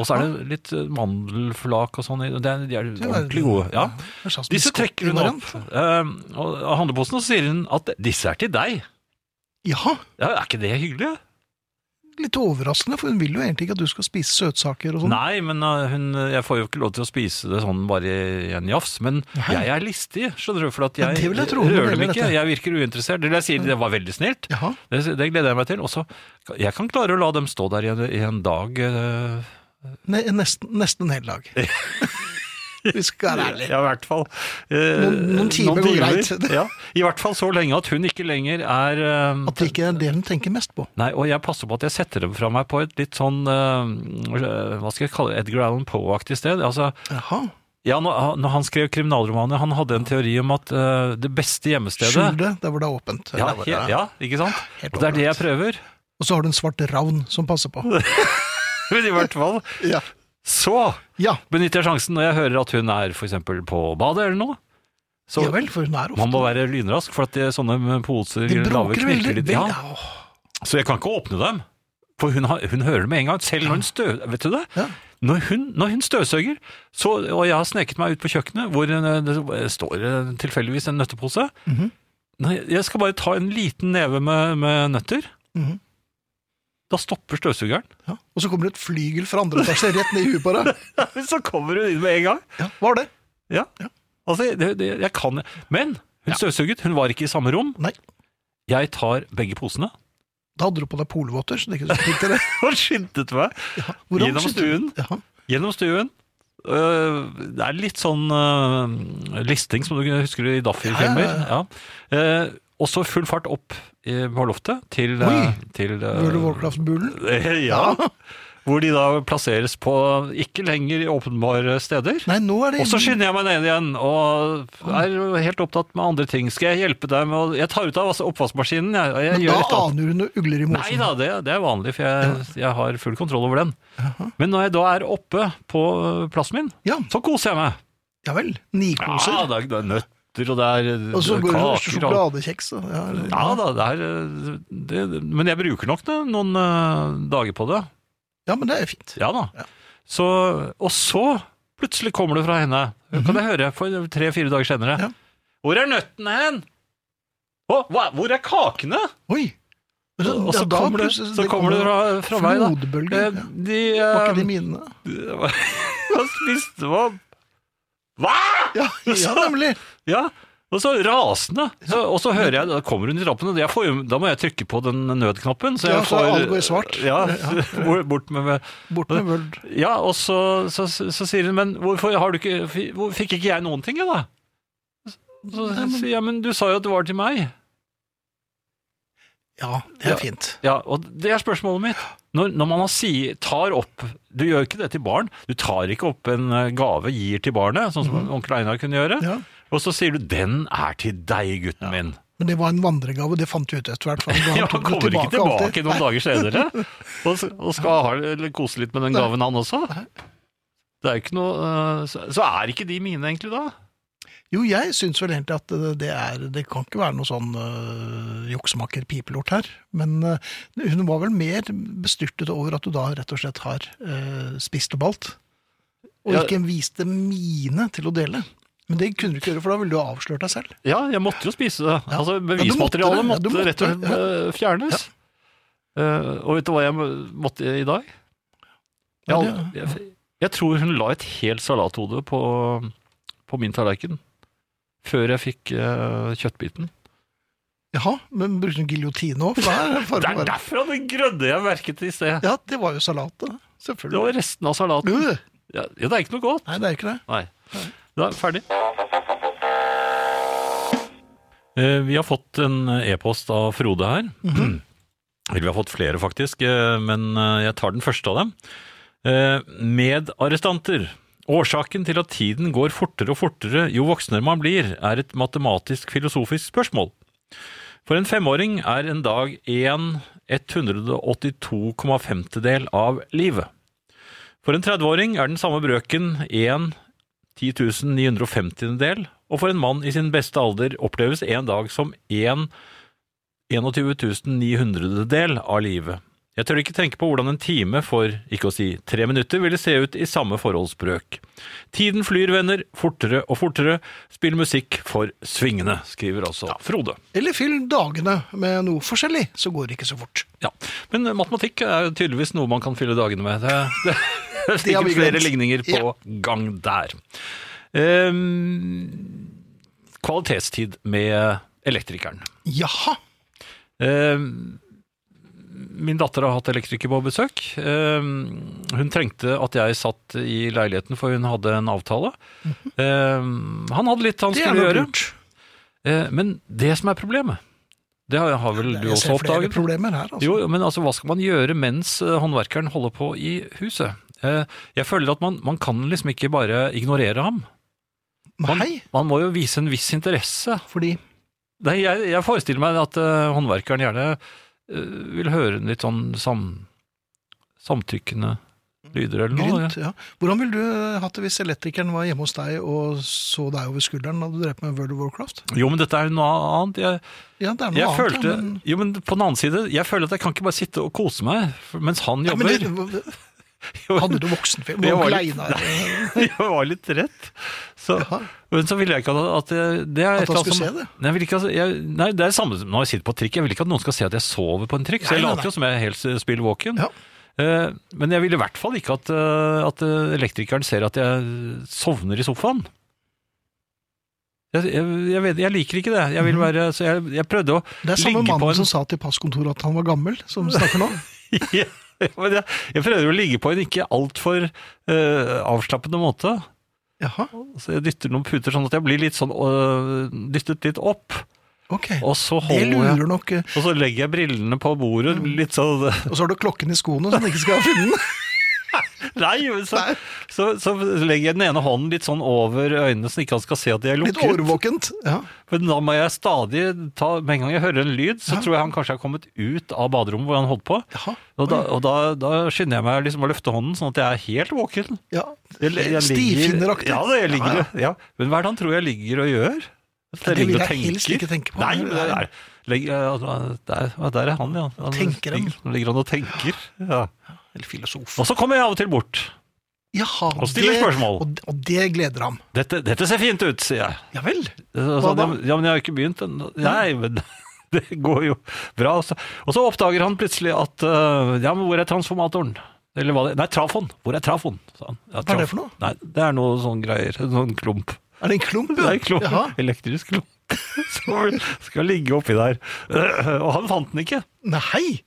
[SPEAKER 3] Og så er det litt eh, mandelflak og sånn. i- det er- De er
[SPEAKER 2] er-
[SPEAKER 3] ordentlig gode. Ja.
[SPEAKER 2] En slags
[SPEAKER 3] Disse
[SPEAKER 2] biskotti
[SPEAKER 3] trekker hun
[SPEAKER 2] variant.
[SPEAKER 3] opp eh, og av handleposen, og så sier hun at disse er til deg.
[SPEAKER 2] Ja,
[SPEAKER 3] Ja, Er ikke det hyggelig?
[SPEAKER 2] litt overraskende, for hun vil jo egentlig ikke at du skal spise søtsaker og sånn.
[SPEAKER 3] Nei, men eh, hun, jeg får jo ikke lov til å spise det sånn bare i en jafs. Men jeg er listig, skjønner du. For at
[SPEAKER 2] Ja,
[SPEAKER 3] jeg
[SPEAKER 2] det vil jeg tro, når det
[SPEAKER 3] rører dem
[SPEAKER 2] gjelder
[SPEAKER 3] ikke.
[SPEAKER 2] dette.
[SPEAKER 3] Jeg virker uinteressert. Det vil jeg si, det var veldig snilt.
[SPEAKER 2] Jaha.
[SPEAKER 3] Det, det gleder jeg meg til. Og så Jeg kan klare å la dem stå der i en, i en dag. eh,
[SPEAKER 2] Ne nesten, nesten en hel dag. Vi skal være ærlige.
[SPEAKER 3] Ja, i hvert fall. eh,
[SPEAKER 2] Noen- noen timer går greit.
[SPEAKER 3] Ja, I hvert fall så lenge at hun ikke lenger er eh,
[SPEAKER 2] At det ikke er det hun tenker mest på.
[SPEAKER 3] Nei, og jeg passer på at jeg setter dem fra meg på et litt sånn eh, Hva skal jeg kalle det? Edgar Allan Poe-aktig sted. Altså,
[SPEAKER 2] Jaha.
[SPEAKER 3] ja, når, når han skrev kriminalromaner, han hadde en teori om at eh, det beste gjemmestedet
[SPEAKER 2] Skjul det der hvor det er åpent.
[SPEAKER 3] ja,
[SPEAKER 2] Der hvor det
[SPEAKER 3] he,
[SPEAKER 2] er-
[SPEAKER 3] ja, ikke sant?
[SPEAKER 2] Helt
[SPEAKER 3] Og det er det jeg
[SPEAKER 2] opplagt.
[SPEAKER 3] prøver.
[SPEAKER 2] Og så har du en svart ravn som passer på.
[SPEAKER 3] Men i hvert fall
[SPEAKER 2] Ja.
[SPEAKER 3] så
[SPEAKER 2] ja.
[SPEAKER 3] benytter jeg sjansen når jeg hører at hun er f.eks. på badet eller noe. Så
[SPEAKER 2] ja vel, for hun er ofte
[SPEAKER 3] man må være lynrask, for at det, sånne poser
[SPEAKER 2] De
[SPEAKER 3] lave
[SPEAKER 2] bråker
[SPEAKER 3] knirker
[SPEAKER 2] veldig.
[SPEAKER 3] litt.
[SPEAKER 2] vel-
[SPEAKER 3] Ja,
[SPEAKER 2] Ja. åh.
[SPEAKER 3] så jeg kan ikke åpne dem. For hun, har, hun hører det med en gang, selv når hun støv... Vet du det?
[SPEAKER 2] Ja.
[SPEAKER 3] Når hun, når hun støvsuger, så, og jeg har sneket meg ut på kjøkkenet, hvor eh, det står eh, tilfeldigvis en nøttepose Nei, Jeg skal bare ta en liten neve med, med nøtter.
[SPEAKER 2] Mhm.
[SPEAKER 3] Da stopper støvsugeren.
[SPEAKER 2] Ja. Og så kommer det et flygel fra andre etasje rett ned i huet på deg.
[SPEAKER 3] så kommer hun inn med en gang.
[SPEAKER 2] Ja. Hva var det?
[SPEAKER 3] Ja. Altså, det, det, jeg kan Men hun støvsuget, hun var ikke i samme rom.
[SPEAKER 2] Nei.
[SPEAKER 3] Jeg tar begge posene
[SPEAKER 2] Da hadde du på deg polvotter, så det er ikke så fint til det.
[SPEAKER 3] og skyndte meg
[SPEAKER 2] Hvordan
[SPEAKER 3] Gjennom
[SPEAKER 2] syntes du- Ja.
[SPEAKER 3] Gjennom stuen. Øh, det er litt sånn øh, listing, som du husker i Daffy-filmer.
[SPEAKER 2] Ja,
[SPEAKER 3] Ja, Eh, og så full fart opp i, på loftet til,
[SPEAKER 2] Oi!
[SPEAKER 3] øh, til øh,
[SPEAKER 2] World of Warcraft-bulen.
[SPEAKER 3] ja, Hvor de da plasseres på ikke lenger i åpenbare steder.
[SPEAKER 2] Nei, nå er det
[SPEAKER 3] Og så skynder jeg meg ned igjen og er jo helt opptatt med andre ting. Skal jeg hjelpe deg med å Jeg tar ut av oppvaskmaskinen, jeg. Og jeg
[SPEAKER 2] Men
[SPEAKER 3] gjør
[SPEAKER 2] da
[SPEAKER 3] et eller annet.
[SPEAKER 2] aner hun ugler i
[SPEAKER 3] Nei
[SPEAKER 2] mosen.
[SPEAKER 3] da, det, det er vanlig, for jeg, jeg har full kontroll over den. Men når jeg da er oppe på øh, plassen min,
[SPEAKER 2] Ja,
[SPEAKER 3] så koser jeg meg.
[SPEAKER 2] ja vel. Nikoser.
[SPEAKER 3] Ja, det er, det er nøtter, og det er øh,
[SPEAKER 2] og så går det
[SPEAKER 3] kaker. og-
[SPEAKER 2] sjokoladekjeks. og- Ja,
[SPEAKER 3] Ja da, det er øh, det, Men jeg bruker nok det, noen øh, dager på det.
[SPEAKER 2] ja, men det er fint.
[SPEAKER 3] Ja da. Så, og så plutselig kommer det fra henne. Kan jeg høre, for tre-fire dager senere.
[SPEAKER 2] Mhm. Ja.
[SPEAKER 3] Hvor er nøttene hen? Å, hva, hvor er kakene?
[SPEAKER 2] Oi! Men
[SPEAKER 3] Og
[SPEAKER 2] ja,
[SPEAKER 3] så
[SPEAKER 2] da
[SPEAKER 3] kommer det,
[SPEAKER 2] plutselig-
[SPEAKER 3] så kommer det fra, fra meg, da.
[SPEAKER 2] Flodbølger.
[SPEAKER 3] Eh,
[SPEAKER 2] Ja.
[SPEAKER 3] De,
[SPEAKER 2] Var ikke
[SPEAKER 3] eh,
[SPEAKER 2] det mine?
[SPEAKER 3] Hva spiste man? Hva?
[SPEAKER 2] Ja, ja nemlig!
[SPEAKER 3] Ja, og så rasende. Så, og så hører jeg, da kommer hun i trappene, og jeg får, jo- da må jeg trykke på den nødknappen. Så jeg
[SPEAKER 2] Ja, så
[SPEAKER 3] får,
[SPEAKER 2] alt går i svart.
[SPEAKER 3] Ja, bort- bort med, med
[SPEAKER 2] Bort med World.
[SPEAKER 3] Ja, og så, så, så, sier hun, men hvorfor har du ikke, hvor, fikk ikke jeg noen ting, jeg, da? Så, så sier jeg, men du sa jo at det var til meg.
[SPEAKER 2] Ja, det er fint.
[SPEAKER 3] Ja, og det er spørsmålet mitt. Når, når man har si, tar opp Du gjør ikke det til barn. Du tar ikke opp en eh, gave, gir til barnet, sånn
[SPEAKER 2] Mhm.
[SPEAKER 3] som onkel Einar kunne gjøre.
[SPEAKER 2] Ja.
[SPEAKER 3] Og så sier du 'den er til deg, gutten min'.
[SPEAKER 2] Men det var en vandregave, det fant vi ut etter hvert. for han
[SPEAKER 3] Ja,
[SPEAKER 2] tok det
[SPEAKER 3] Han kommer ikke tilbake
[SPEAKER 2] alltid.
[SPEAKER 3] noen dager senere og, s- og skal ha, eller kose litt med den gaven, han også. Det er jo ikke noe eh, Så så er ikke de mine, egentlig, da?
[SPEAKER 2] Jo, jeg syns vel egentlig at det- det er Det kan ikke være noe sånn øh, juksemaker-pipelort her. Men øh, hun var vel mer bestyrtet over at du da rett og slett har øh, spist og balt. Og
[SPEAKER 3] Ja.
[SPEAKER 2] ikke viste mine til å dele. Men det kunne du ikke gjøre, for da ville du ha avslørt deg selv.
[SPEAKER 3] Ja, jeg måtte jo spise det. Altså,
[SPEAKER 2] du måtte det. Ja,
[SPEAKER 3] Bevismaterialet
[SPEAKER 2] du
[SPEAKER 3] måtte,
[SPEAKER 2] måtte,
[SPEAKER 3] rett og slett eh, fjernes. Eh, og vet du hva jeg må- måtte i dag? Jeg,
[SPEAKER 2] Ja,
[SPEAKER 3] al- jeg, jeg tror hun la et helt salathode på, på min tallerken før jeg fikk eh, kjøttbiten.
[SPEAKER 2] Jaha, men brukte hun giljotine òg? For det
[SPEAKER 3] Det er
[SPEAKER 2] er
[SPEAKER 3] derfra det grønne jeg merket i sted.
[SPEAKER 2] Ja, det var jo salatet.
[SPEAKER 3] Det
[SPEAKER 2] Selvfølgelig.
[SPEAKER 3] var resten av salaten.
[SPEAKER 2] Du,
[SPEAKER 3] Ja, ja, det er ikke noe godt.
[SPEAKER 2] Nei, det er ikke det.
[SPEAKER 3] Nei. Da er vi ferdig. Eh, Vi har fått en e-post av Frode her. Eller vi har fått flere, faktisk, eh, men eh, jeg tar den første av dem. Eh, Medarrestanter. Årsaken til at tiden går fortere og fortere jo voksnere man blir, er et matematisk-filosofisk spørsmål. For en femåring er en dag en 182,5-del av livet. For en 30-åring er den samme brøken en 10.950. del, og for en mann i sin beste alder oppleves en dag som en 21.900. del av livet. Jeg tør ikke tenke på hvordan en time for, ikke å si tre minutter, ville se ut i samme forholdsbrøk. Tiden flyr, venner, fortere og fortere. Spill musikk for svingende, skriver altså Frode.
[SPEAKER 2] Eller fyll dagene med noe forskjellig, så går det ikke så fort.
[SPEAKER 3] Ja, Men matematikk er jo tydeligvis noe man kan fylle dagene med. Det, det, det er
[SPEAKER 2] Det har vi
[SPEAKER 3] sikkert flere
[SPEAKER 2] glemt.
[SPEAKER 3] ligninger på
[SPEAKER 2] Ja.
[SPEAKER 3] gang der. Ehm, kvalitetstid med elektrikeren.
[SPEAKER 2] Jaha.
[SPEAKER 3] Ehm, min datter har hatt elektriker på besøk. Ehm, hun trengte at jeg satt i leiligheten, for hun hadde en avtale. Ehm, han hadde litt han
[SPEAKER 2] Mhm. Det er
[SPEAKER 3] skulle
[SPEAKER 2] noe
[SPEAKER 3] gjøre.
[SPEAKER 2] lurt.
[SPEAKER 3] Eh, men det som er problemet, det har, har vel du
[SPEAKER 2] Jeg
[SPEAKER 3] også
[SPEAKER 2] ser flere
[SPEAKER 3] oppdaget?
[SPEAKER 2] problemer her, altså.
[SPEAKER 3] Jo, jo, men altså, hva skal man gjøre mens eh, håndverkeren holder på i huset? Eh, Jeg føler at man, man kan liksom ikke bare ignorere ham. Man,
[SPEAKER 2] Nei,
[SPEAKER 3] man må jo vise en viss interesse.
[SPEAKER 2] fordi
[SPEAKER 3] Nei, jeg, jeg forestiller meg at eh, håndverkeren gjerne eh, vil høre en litt sånn sam, samtykkende lyder eller noe.
[SPEAKER 2] Grynt, ja. Hvordan ville du eh, hatt det hvis elektrikeren var hjemme hos deg og så deg over skulderen da du drev med World of Warcraft?
[SPEAKER 3] Jo, men dette er jo noe annet. Jeg,
[SPEAKER 2] Ja, det er noe
[SPEAKER 3] jeg
[SPEAKER 2] annet.
[SPEAKER 3] følte,
[SPEAKER 2] ja, men-
[SPEAKER 3] Jo, men på den annen side, jeg føler at jeg kan ikke bare sitte og kose meg for- mens han
[SPEAKER 2] Nei, men
[SPEAKER 3] jobber.
[SPEAKER 2] det, hadde du voksenfilm?
[SPEAKER 3] Jeg var
[SPEAKER 2] Onkel
[SPEAKER 3] litt-
[SPEAKER 2] Einar eh,
[SPEAKER 3] jeg var litt redd. Så,
[SPEAKER 2] Jaha.
[SPEAKER 3] men så ville jeg sånn ikke at, at jeg- det er
[SPEAKER 2] At han
[SPEAKER 3] et eller annet
[SPEAKER 2] skulle
[SPEAKER 3] som-
[SPEAKER 2] se det?
[SPEAKER 3] Nei, jeg vil ikke, at- jeg, nei, det er det samme som når jeg sitter på trikk. Jeg vil ikke at noen skal se at jeg sover på en trikk. Så jeg
[SPEAKER 2] Nei, nei,
[SPEAKER 3] later jo
[SPEAKER 2] nei.
[SPEAKER 3] som jeg er helt spill våken.
[SPEAKER 2] Ja.
[SPEAKER 3] Eh, Men jeg vil i hvert fall ikke at, eh, at eh, elektrikeren ser at jeg sovner i sofaen. Jeg, jeg, jeg, vet, jeg liker ikke det. Jeg, vil
[SPEAKER 2] Mhm.
[SPEAKER 3] være, så jeg, jeg prøvde å
[SPEAKER 2] Det er samme
[SPEAKER 3] ligge på
[SPEAKER 2] mannen
[SPEAKER 3] en
[SPEAKER 2] som sa til passkontoret at han var gammel, som snakker nå.
[SPEAKER 3] ja, men jeg, jeg prøver å ligge på en ikke altfor uh, avslappende måte.
[SPEAKER 2] Jaha,
[SPEAKER 3] Så jeg dytter noen puter sånn at jeg blir litt sånn øh, dyttet litt opp.
[SPEAKER 2] ok.
[SPEAKER 3] Og så
[SPEAKER 2] Det
[SPEAKER 3] holder jeg
[SPEAKER 2] lurer nok. eh,
[SPEAKER 3] og så legger jeg brillene på bordet, litt sånn
[SPEAKER 2] Og så har du klokken i skoene, så han ikke skal finne den.
[SPEAKER 3] Nei! men Så,
[SPEAKER 2] Nei.
[SPEAKER 3] så, så legger jeg den ene hånden litt sånn over øynene, så ikke han skal se at jeg er
[SPEAKER 2] Litt
[SPEAKER 3] lukket.
[SPEAKER 2] årvåkent. Ja.
[SPEAKER 3] Men da må jeg stadig ta Med en gang jeg hører en lyd, så tror jeg han kanskje har kommet ut av baderommet hvor han holdt på.
[SPEAKER 2] Jaha.
[SPEAKER 3] Og da, og da, da skynder jeg meg liksom å løfte hånden, sånn at jeg er helt våken.
[SPEAKER 2] Ja.
[SPEAKER 3] Jeg- jeg ligger-
[SPEAKER 2] Stifinneraktig.
[SPEAKER 3] Ja, det- jeg ligger, ja, Men hva er det han tror jeg ligger og gjør? At
[SPEAKER 2] Det vil
[SPEAKER 3] ligger og
[SPEAKER 2] jeg helst
[SPEAKER 3] tenker?
[SPEAKER 2] ikke tenke på.
[SPEAKER 3] Nei, men det er, legg, ja, altså, der, ja, der er han, ja. Han
[SPEAKER 2] Tenker han.
[SPEAKER 3] ligger, ligger han og tenker. Ja.
[SPEAKER 2] Eller filosof.
[SPEAKER 3] Og så kommer jeg av og til bort
[SPEAKER 2] Jaha,
[SPEAKER 3] og stiller
[SPEAKER 2] det-
[SPEAKER 3] spørsmål.
[SPEAKER 2] Og, og det gleder ham.
[SPEAKER 3] Dette, dette ser fint ut, sier jeg.
[SPEAKER 2] Ja vel.
[SPEAKER 3] Så,
[SPEAKER 2] Hva da?
[SPEAKER 3] Eh, altså, ja, men jeg har ikke begynt ennå. Nei, men det går jo bra. Og så, og så oppdager han plutselig at øh, Ja, men hvor er transformatoren? Eller hva det Nei, trafoen. Hvor er trafoen? sa han. Ja,
[SPEAKER 2] Hva er det
[SPEAKER 3] traf-
[SPEAKER 2] for noe?
[SPEAKER 3] Nei, det er noe sånn greier. En sånn klump.
[SPEAKER 2] Er det en klump?
[SPEAKER 3] Det er en klump,
[SPEAKER 2] Jaha.
[SPEAKER 3] elektrisk klump som skal ligge oppi der. Eh, Og han fant den ikke.
[SPEAKER 2] Nei.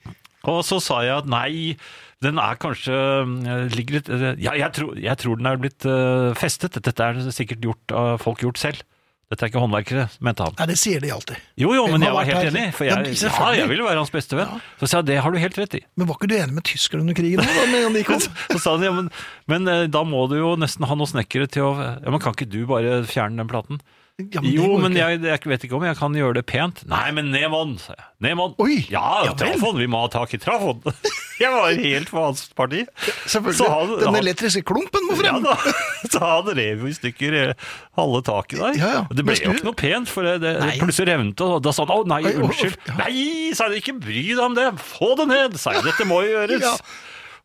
[SPEAKER 3] Og så sa jeg at nei, den er kanskje eh, ligger litt eh, Ja, jeg tror, jeg tror den er blitt eh, festet. Dette er sikkert gjort av folk gjort selv. Dette er ikke håndverkere, mente han.
[SPEAKER 2] Nei, det sier de alltid.
[SPEAKER 3] Jo, jo,
[SPEAKER 2] Hvem
[SPEAKER 3] men
[SPEAKER 2] har
[SPEAKER 3] jeg var
[SPEAKER 2] vært
[SPEAKER 3] helt
[SPEAKER 2] her?
[SPEAKER 3] enig, for
[SPEAKER 2] Ja,
[SPEAKER 3] jeg, ja,
[SPEAKER 2] selvfølgelig.
[SPEAKER 3] jeg ville være hans beste venn. Så sa jeg, det har du helt rett i.
[SPEAKER 2] Men var ikke du enig med tyskerne under krigen? Da, med Jan Nikon?
[SPEAKER 3] Så sa han, ja, men, men eh, da må du jo nesten ha noen snekkere til å Ja, men kan ikke du bare fjerne den platen?
[SPEAKER 2] Ja, det
[SPEAKER 3] jo,
[SPEAKER 2] går
[SPEAKER 3] men
[SPEAKER 2] ikke.
[SPEAKER 3] jeg, jeg vet ikke om jeg kan gjøre det pent. Nei, men ned med den, sa jeg. Ned med den.
[SPEAKER 2] Oi,
[SPEAKER 3] Ja,
[SPEAKER 2] ja vel.
[SPEAKER 3] trafon, vi må ha tak i trafon. Jeg var helt på hans parti.
[SPEAKER 2] Selvfølgelig.
[SPEAKER 3] Så han-
[SPEAKER 2] Den
[SPEAKER 3] han-
[SPEAKER 2] elektriske klumpen må
[SPEAKER 3] Ja
[SPEAKER 2] frem!
[SPEAKER 3] da, så han rev jo i stykker eh, halve taket der.
[SPEAKER 2] Ja, ja.
[SPEAKER 3] Og Det ble
[SPEAKER 2] Men
[SPEAKER 3] jo
[SPEAKER 2] skulle-
[SPEAKER 3] ikke noe pent, for det, det
[SPEAKER 2] Nei.
[SPEAKER 3] plutselig revnet det, og da sa han å nei,
[SPEAKER 2] Oi, å,
[SPEAKER 3] unnskyld.
[SPEAKER 2] ja.
[SPEAKER 3] Nei, sa jeg, ikke bry deg om det, få det ned, sa jeg, dette må jo gjøres.
[SPEAKER 2] Ja.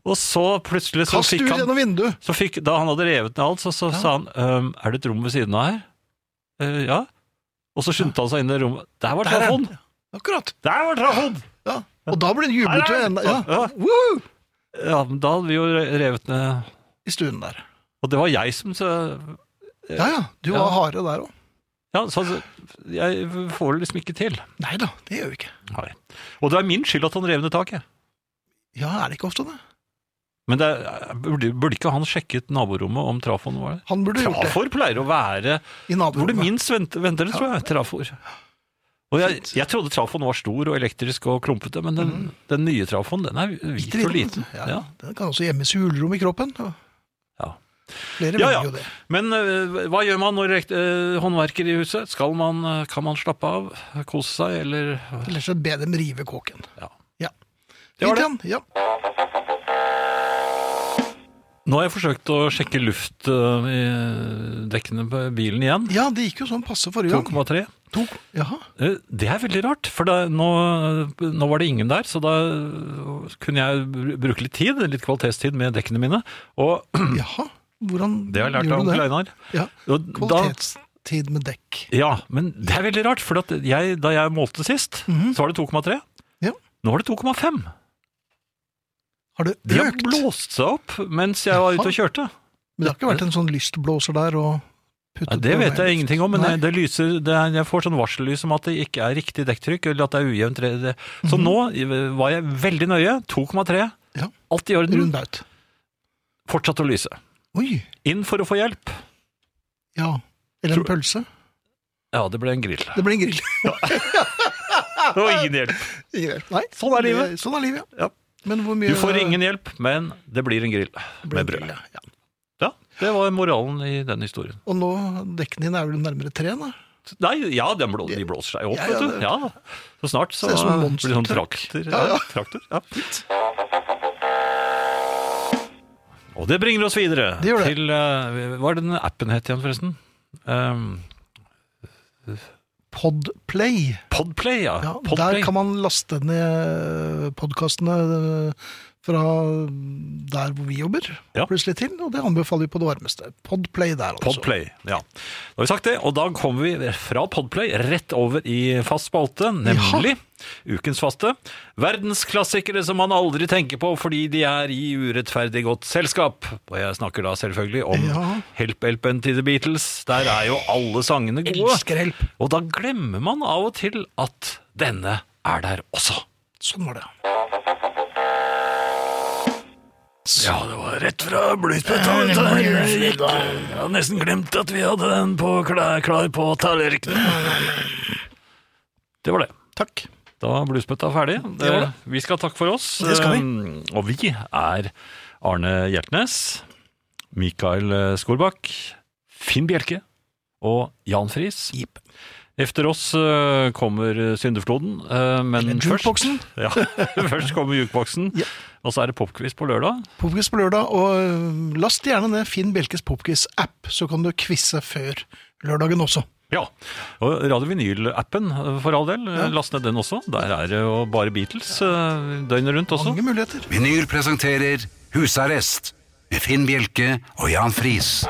[SPEAKER 3] Og så plutselig så
[SPEAKER 2] Kast ut
[SPEAKER 3] fikk han,
[SPEAKER 2] gjennom vinduet!
[SPEAKER 3] så fikk, da han hadde revet ned alt, så, så sa han, «Øhm, er det et rom ved siden av her? «Eh, ja. Og så skyndte han seg inn i rommet. Der var
[SPEAKER 2] Der er
[SPEAKER 3] trafon!
[SPEAKER 2] Akkurat.
[SPEAKER 3] Der var trafon!
[SPEAKER 2] Ja. Og da blir det jublet jo
[SPEAKER 3] Nei,
[SPEAKER 2] enda
[SPEAKER 3] nei.
[SPEAKER 2] ja.
[SPEAKER 3] Ja.
[SPEAKER 2] Woo!
[SPEAKER 3] Ja, men da hadde vi jo revet ned,
[SPEAKER 2] I stuen der.
[SPEAKER 3] og det var jeg som så,
[SPEAKER 2] Ja ja, du
[SPEAKER 3] Ja.
[SPEAKER 2] var harde der òg.
[SPEAKER 3] Ja, så altså, jeg får det liksom ikke til.
[SPEAKER 2] Nei da, det gjør vi ikke.
[SPEAKER 3] Nei. Og det er min skyld at han rev ned taket.
[SPEAKER 2] Ja, er det ikke ofte det?
[SPEAKER 3] Men det er, burde, burde ikke han sjekket naborommet om trafoen var der?
[SPEAKER 2] Han burde gjort det.
[SPEAKER 3] Trafor pleier å være
[SPEAKER 2] I
[SPEAKER 3] hvor det
[SPEAKER 2] naborommet.
[SPEAKER 3] minst venter, venter det, tror jeg. Trafor. Og jeg, jeg trodde trafoen var stor og elektrisk og klumpete, men den,
[SPEAKER 2] Mm.
[SPEAKER 3] den nye trafoen den er hvit og liten.
[SPEAKER 2] Ja.
[SPEAKER 3] Ja.
[SPEAKER 2] Den kan også gjemmes i hulrom i kroppen. og
[SPEAKER 3] Ja.
[SPEAKER 2] Flere
[SPEAKER 3] Ja,
[SPEAKER 2] velger
[SPEAKER 3] ja.
[SPEAKER 2] jo det.
[SPEAKER 3] Men øh, hva gjør man når elekt- øh, håndverker i huset? Skal man, øh, kan man slappe av, kose seg, eller
[SPEAKER 2] Ellers så be dem rive kåken.
[SPEAKER 3] Ja.
[SPEAKER 2] Ja.
[SPEAKER 3] Det var
[SPEAKER 2] Fint
[SPEAKER 3] det.
[SPEAKER 2] igjen. Ja.
[SPEAKER 3] Nå har jeg forsøkt å sjekke luft øh, i dekkene på bilen igjen.
[SPEAKER 2] ja, det gikk jo sånn passe forrige gang.
[SPEAKER 3] 2,3.
[SPEAKER 2] To, jaha.
[SPEAKER 3] Eh, Det er veldig rart, for da, nå, nå var det ingen der, så da kunne jeg br- bruke litt tid, litt kvalitetstid med dekkene mine. Og
[SPEAKER 2] jaha. Hvordan
[SPEAKER 3] det har jeg lært av
[SPEAKER 2] gjorde
[SPEAKER 3] onkel
[SPEAKER 2] du det?
[SPEAKER 3] Einar.
[SPEAKER 2] Ja.
[SPEAKER 3] Og da-
[SPEAKER 2] Kvalitetstid med dekk.
[SPEAKER 3] Ja, men det er veldig rart, for at jeg, da jeg målte sist, så var det 2,3.
[SPEAKER 2] Mhm. Ja.
[SPEAKER 3] Nå var det 2,5.
[SPEAKER 2] Har det
[SPEAKER 3] De har
[SPEAKER 2] økt?
[SPEAKER 3] blåst seg opp mens jeg var ute og kjørte.
[SPEAKER 2] Men det har ikke vært en sånn lystblåser der og puttet
[SPEAKER 3] Ja, det
[SPEAKER 2] på
[SPEAKER 3] vet jeg
[SPEAKER 2] meg?
[SPEAKER 3] ingenting om, men
[SPEAKER 2] Nei.
[SPEAKER 3] jeg, det lyser, det er, jeg får sånn varsellys om at det ikke er riktig dekktrykk, eller at det er ujevnt. re- det- Så nå var jeg veldig nøye. 2,3.
[SPEAKER 2] Mhm. Ja.
[SPEAKER 3] Alt i orden.
[SPEAKER 2] Rund baut.
[SPEAKER 3] Fortsatt å lyse.
[SPEAKER 2] Oi.
[SPEAKER 3] Inn for å få hjelp.
[SPEAKER 2] Ja. Eller en
[SPEAKER 3] Tror-
[SPEAKER 2] pølse.
[SPEAKER 3] Ja, det ble en grill.
[SPEAKER 2] Det ble en grill.
[SPEAKER 3] Det var ingen hjelp.
[SPEAKER 2] Ingen hjelp. Nei,
[SPEAKER 3] Sånn er livet.
[SPEAKER 2] det- Sånn er livet,
[SPEAKER 3] Ja.
[SPEAKER 2] Men hvor mye
[SPEAKER 3] Du får ingen hjelp, men det blir en grill
[SPEAKER 2] ble en
[SPEAKER 3] med
[SPEAKER 2] grill,
[SPEAKER 3] brød.
[SPEAKER 2] ja.
[SPEAKER 3] Ja, det var moralen i den historien.
[SPEAKER 2] Og nå, dekkene dine er vel nærmere tre, da?
[SPEAKER 3] Nei, ja, den blå, de blåser seg opp,
[SPEAKER 2] Ja, ja,
[SPEAKER 3] vet du.
[SPEAKER 2] det-
[SPEAKER 3] Ja. Så snart så
[SPEAKER 2] Ser ut som en
[SPEAKER 3] blir det sånn
[SPEAKER 2] monstertruck.
[SPEAKER 3] traktor.
[SPEAKER 2] Ja,
[SPEAKER 3] Ja,
[SPEAKER 2] ja.
[SPEAKER 3] traktor. Ja. Og det bringer oss videre
[SPEAKER 2] Det gjør det.
[SPEAKER 3] til eh, Hva er den appen het igjen, forresten? Um,
[SPEAKER 2] Podplay.
[SPEAKER 3] Podplay, ja.
[SPEAKER 2] Ja,
[SPEAKER 3] Podplay.
[SPEAKER 2] Der kan man laste ned podkastene fra der hvor vi jobber,
[SPEAKER 3] Ja.
[SPEAKER 2] plutselig til. Og det anbefaler vi på det varmeste. Podplay der, altså.
[SPEAKER 3] Podplay, ja. Da har vi sagt det, og da kommer vi fra Podplay rett over i fast spalte, nemlig ukens faste. Verdensklassikere som man aldri tenker på fordi de er i urettferdig godt selskap. Og jeg snakker da selvfølgelig om
[SPEAKER 2] Ja.
[SPEAKER 3] Help Helpen til The Beatles. Der er jo alle sangene gode.
[SPEAKER 2] Elsker hjelp.
[SPEAKER 3] Og da glemmer man av og til at denne er der også.
[SPEAKER 2] Sånn var det.
[SPEAKER 3] Ja, det var rett fra blyspetta. Jeg hadde nesten glemt at vi hadde den på klar, klar på tallerkenen. Det var det.
[SPEAKER 2] Takk.
[SPEAKER 3] Da er blyspetta ferdig.
[SPEAKER 2] Det var det.
[SPEAKER 3] Eh, Vi skal takke for oss.
[SPEAKER 2] Det skal vi.
[SPEAKER 3] Eh, Og vi er Arne Hjeltnes, Mikael eh, Skorbakk, Finn Bjelke og Jan Friis.
[SPEAKER 2] Jeep.
[SPEAKER 3] Efter oss eh, kommer syndefloden, eh, men først,
[SPEAKER 2] Jukeboksen.
[SPEAKER 3] ja, først kommer jukeboksen,
[SPEAKER 2] Ja.
[SPEAKER 3] og så er det popquiz på lørdag.
[SPEAKER 2] Popquiz på lørdag, og øh, last gjerne ned Finn Bjelkes Popquiz-app, så kan du quize før lørdagen også.
[SPEAKER 3] Ja, og Radio Vinyl-appen eh, for all del, last ned den også. Der er det jo bare Beatles eh, døgnet rundt også.
[SPEAKER 2] Mange muligheter.
[SPEAKER 1] Vinyl presenterer Husarrest med Finn Bjelke og Jan Friis.